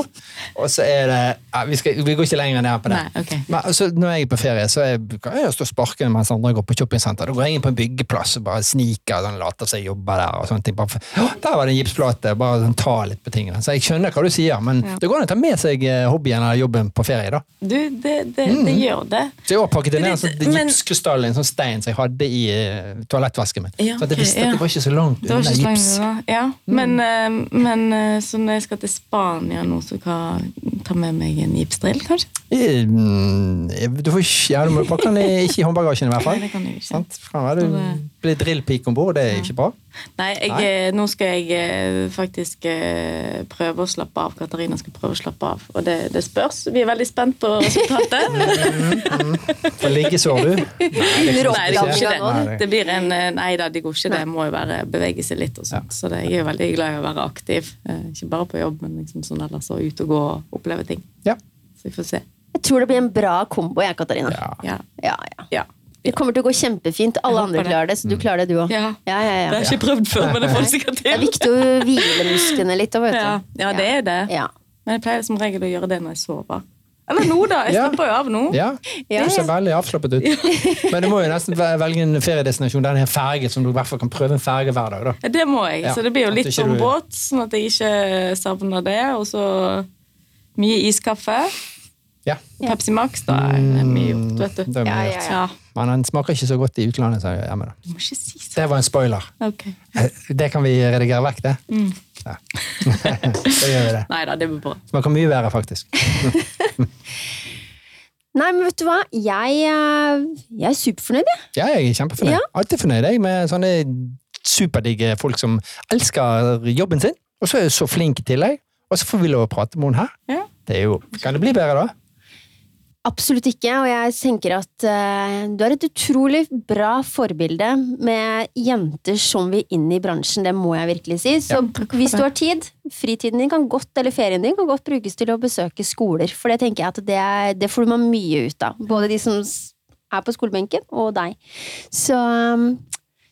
Speaker 2: Og så er det ja, vi, skal, vi går ikke lenger ned på det.
Speaker 3: Nei, ok.
Speaker 2: Men altså, når jeg er på ferie, så er, kan jeg jo stå og sparke mens andre går på shoppingsenter. Da går jeg inn på en byggeplass og bare sniker og sånn, later som jeg jobber der. og sånne ting. Bare for, «Å, der var det en gipsplate! Bare sånn, ta litt på tingene. Så jeg skjønner hva du sier, men
Speaker 3: Ja.
Speaker 2: det går an å ta med seg eh, hobbyen eller jobben på ferie. da.
Speaker 3: Du, det, det,
Speaker 1: Mm.
Speaker 3: det gjør det.
Speaker 2: Så jeg også pakket jeg ned en
Speaker 3: Det er litt-
Speaker 2: sånn
Speaker 3: men-
Speaker 2: gipskrystall i en sånn stein som jeg hadde i eh, toalettvasken min.
Speaker 3: Ja,
Speaker 2: så at jeg
Speaker 3: ok,
Speaker 2: visste at
Speaker 3: ja.
Speaker 2: det var ikke så langt
Speaker 3: Det var
Speaker 2: unna
Speaker 3: ikke så
Speaker 2: gips.
Speaker 3: lenge da. Ja.
Speaker 1: Mm.
Speaker 3: Men, eh, men eh, så når jeg skal til Spania nå, så kan jeg ta med meg en gipsdrill, kanskje?
Speaker 2: Eh, mm, Du får ikke, ja, du må pakke den i- ikke i håndbagasjen i hvert
Speaker 3: Nei,
Speaker 2: fall.
Speaker 3: det kan jeg jo ikke.
Speaker 2: Sant? Kan være du blir drillpike om bord, det er jo ikke bra.
Speaker 3: Nei, jeg, eh, nå skal jeg eh, faktisk eh, prøve å slappe av. Katarina skal prøve å slappe av, og det, det spørs. Vi er veldig spent på resultatet.
Speaker 2: For liggesår, du. Nei,
Speaker 1: Under
Speaker 2: det kan
Speaker 3: Nei, det går
Speaker 1: oppgangen
Speaker 3: ikke
Speaker 1: nå,
Speaker 2: Nei,
Speaker 3: det. Det blir en, eh, nei da, det går ikke det. Jeg må jo være, bevege seg litt og sånt. Så det, jeg er jo veldig glad i å være aktiv. Eh, Ikke bare på jobb, men liksom sånn ellers og ut og gå og oppleve ting.
Speaker 2: Ja.
Speaker 3: Så vi får se.
Speaker 1: Jeg tror det blir en bra kombo, jeg, Katarina.
Speaker 2: Ja.
Speaker 3: Ja.
Speaker 1: Ja, ja.
Speaker 3: ja.
Speaker 1: Det kommer til å gå kjempefint. Alle
Speaker 3: Jeg håper
Speaker 1: andre
Speaker 3: det.
Speaker 1: klarer det,
Speaker 2: Mm.
Speaker 1: så du klarer det, du òg.
Speaker 3: Ja.
Speaker 1: Ja, ja, ja.
Speaker 3: Det har jeg ikke prøvd før, men det får det sikkert
Speaker 1: Det er
Speaker 3: til.
Speaker 1: viktig å hvile musklene litt. Vet du.
Speaker 3: Ja, ja, det er det.
Speaker 1: Ja.
Speaker 3: Men jeg pleier som regel å gjøre det når jeg sover. Eller nå, da. Jeg
Speaker 2: Ja.
Speaker 3: slapper jo av nå.
Speaker 2: Ja.
Speaker 1: Ja.
Speaker 2: Du ser veldig avslappet ut. Men du må jo nesten ve- velge en feriedestinasjon der det er ferge, som du i hvert fall kan prøve en ferge hver dag. da.
Speaker 3: Ja, Det må jeg,
Speaker 2: Ja,
Speaker 3: så det blir jo
Speaker 2: at
Speaker 3: litt
Speaker 2: ikke
Speaker 3: sånn
Speaker 2: du-
Speaker 3: båt, sånn at jeg ikke savner det. Og så mye iskaffe.
Speaker 2: Ja.
Speaker 3: Pepsi Max, da er det mye gjort, vet du.
Speaker 2: Mm, Det er mye
Speaker 1: Ja, ja,
Speaker 2: gjort.
Speaker 1: ja.
Speaker 2: Men den smaker ikke så godt i utlandet, sa jeg hjemme. da.
Speaker 3: Du må ikke si sånn.
Speaker 2: Det var en spoiler.
Speaker 3: Ok.
Speaker 2: Eh, Det kan vi redigere vekk, det.
Speaker 1: Mm.
Speaker 2: Ja. da gjør vi det.
Speaker 3: Nei da, det blir bra.
Speaker 2: Smaker mye verre, faktisk.
Speaker 1: Nei, men vet du hva? Jeg, eh, jeg er superfornøyd, jeg.
Speaker 2: Ja, jeg er kjempefornøyd.
Speaker 1: Ja.
Speaker 2: Alltid fornøyd jeg, med sånne superdigge folk som elsker jobben sin, og så er jeg så flink i tillegg. Og så får vi lov å prate med henne her.
Speaker 3: Ja.
Speaker 2: Det er jo, kan det bli bedre, da?
Speaker 1: Absolutt ikke, og jeg tenker at eh, du er et utrolig bra forbilde med jenter som vil inn i bransjen, det må jeg virkelig si. Så hvis du har tid, fritiden din kan godt, eller ferien din kan godt brukes til å besøke skoler, for det tenker jeg at det, er, det får man mye ut av. Både de som s- er på skolebenken, og deg. Så um,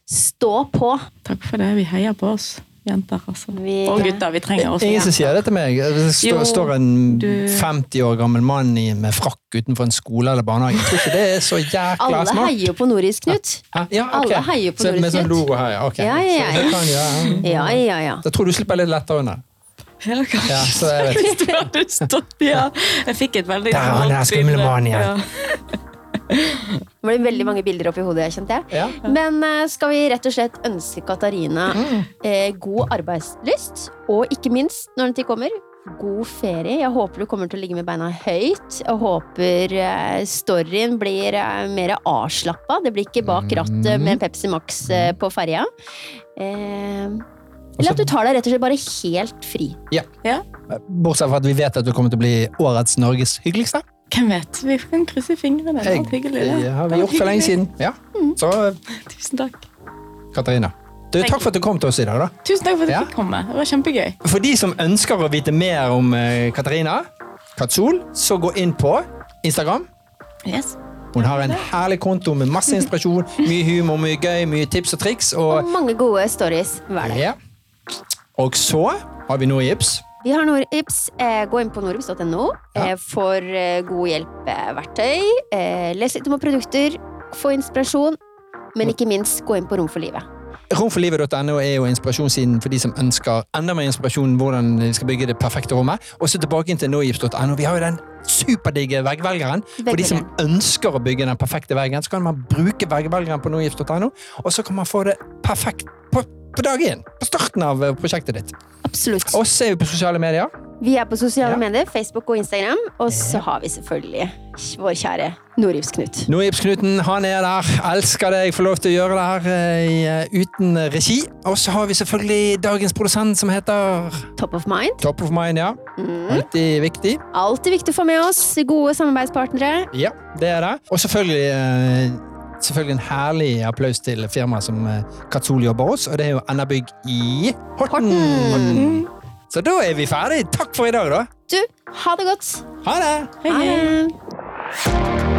Speaker 1: stå på.
Speaker 3: Takk for det. Vi heier på oss jenter, altså.
Speaker 1: Vi-
Speaker 3: Og gutter. Vi trenger oss.
Speaker 2: Ingen som sier det til meg. Hvis det
Speaker 3: Jo,
Speaker 2: står, står en
Speaker 3: du-
Speaker 2: 50 år gammel mann i, med frakk utenfor en skole eller barnehage. Jeg tror ikke det er så jækla
Speaker 1: Alle
Speaker 2: smart.
Speaker 1: heier jo på Noris, Knut.
Speaker 2: Hæ? Ja, ok.
Speaker 1: Alle heier på
Speaker 2: Så Med
Speaker 1: Norges
Speaker 2: sånn
Speaker 1: Nytt.
Speaker 2: logo her, ja. ok.
Speaker 1: Ja, ja,
Speaker 2: Så det kan jo, ja.
Speaker 1: Ja, ja, ja.
Speaker 2: Da tror du slipper litt lettere unna.
Speaker 3: Eller kanskje
Speaker 2: Ja, så jeg vet.
Speaker 3: Hvis du hadde stått Ja. Jeg fikk et veldig
Speaker 2: Der er han,
Speaker 3: godt
Speaker 2: der er skumle
Speaker 3: bilde.
Speaker 2: mannen igjen.
Speaker 3: Ja.
Speaker 1: Det ble veldig mange bilder oppi hodet, jeg kjente jeg.
Speaker 2: Ja. Mm.
Speaker 1: Men eh, skal vi rett og slett ønske Katarina eh, god arbeidslyst, og ikke minst, når den tid kommer, god ferie. Jeg håper du kommer til å ligge med beina høyt. Jeg håper eh, storyen blir eh, mer avslappa. Det blir ikke bak rattet
Speaker 2: Mm.
Speaker 1: med en Pepsi Max eh, på ferja. Eh, eller at du tar deg rett og slett bare helt fri.
Speaker 3: Ja,
Speaker 2: Bortsett fra at vi vet at du kommer til å bli årets Norges hyggeligste.
Speaker 3: hvem vet? Vi kan krysse fingrene. Det var
Speaker 2: Jeg,
Speaker 3: hyggelig.
Speaker 2: det har vi gjort for lenge siden. Ja. Så
Speaker 3: Tusen takk.
Speaker 2: Katarina. Du, takk for at du kom til oss i dag. da.
Speaker 3: Tusen takk for at jeg
Speaker 2: Ja.
Speaker 3: fikk komme. Det var kjempegøy.
Speaker 2: For de som ønsker å vite mer om eh, Katarina Katzol, så gå inn på Instagram.
Speaker 3: Yes.
Speaker 2: Hun har en herlig konto med masse inspirasjon, mye humor, mye gøy, mye tips og triks. Og,
Speaker 1: Og mange gode stories hver dag.
Speaker 2: ja. og så har vi noe gips.
Speaker 1: Vi har Norips. Eh, gå inn på norips.no
Speaker 2: Ja.
Speaker 1: eh, for eh, god hjelpeverktøy. Eh, les litt om produkter, få inspirasjon, men
Speaker 2: Mm.
Speaker 1: ikke minst gå inn på Rom for livet.
Speaker 2: Romforlivet.no er jo inspirasjonssiden for de som ønsker enda mer inspirasjon om hvordan de skal bygge det perfekte rommet. Og så tilbake inn til nogips.no. Vi har jo den superdigge veggvelgeren. For de som ønsker å bygge den perfekte veggen, så kan man bruke veggvelgeren på nogips.no, og så kan man få det perfekt på, på dag én. På starten av eh, prosjektet ditt.
Speaker 1: Absolutt.
Speaker 2: Oss er jo på sosiale medier.
Speaker 1: Vi er på sosiale
Speaker 2: Ja.
Speaker 1: medier, Facebook og Instagram. Og så har vi selvfølgelig vår kjære Norivs-Knut.
Speaker 2: Nordgipsknuten, han er der. Elsker deg. Får lov til å gjøre det her eh, i, eh, uten regi. Og så har vi selvfølgelig dagens produsent, som heter
Speaker 1: Top of mind.
Speaker 2: Top of Mind, ja. Alltid viktig.
Speaker 1: Alltid viktig å få med oss gode samarbeidspartnere.
Speaker 2: Ja, det er det. Og selvfølgelig, eh, selvfølgelig en herlig applaus til firmaet som eh, Katzol jobber hos, og det er jo NR Bygg i Horten.
Speaker 1: Horten.
Speaker 2: Så da er vi ferdig. Takk for i dag, da.
Speaker 1: Du, ha det godt.
Speaker 2: Ha det!
Speaker 3: Hei, hei.
Speaker 1: det.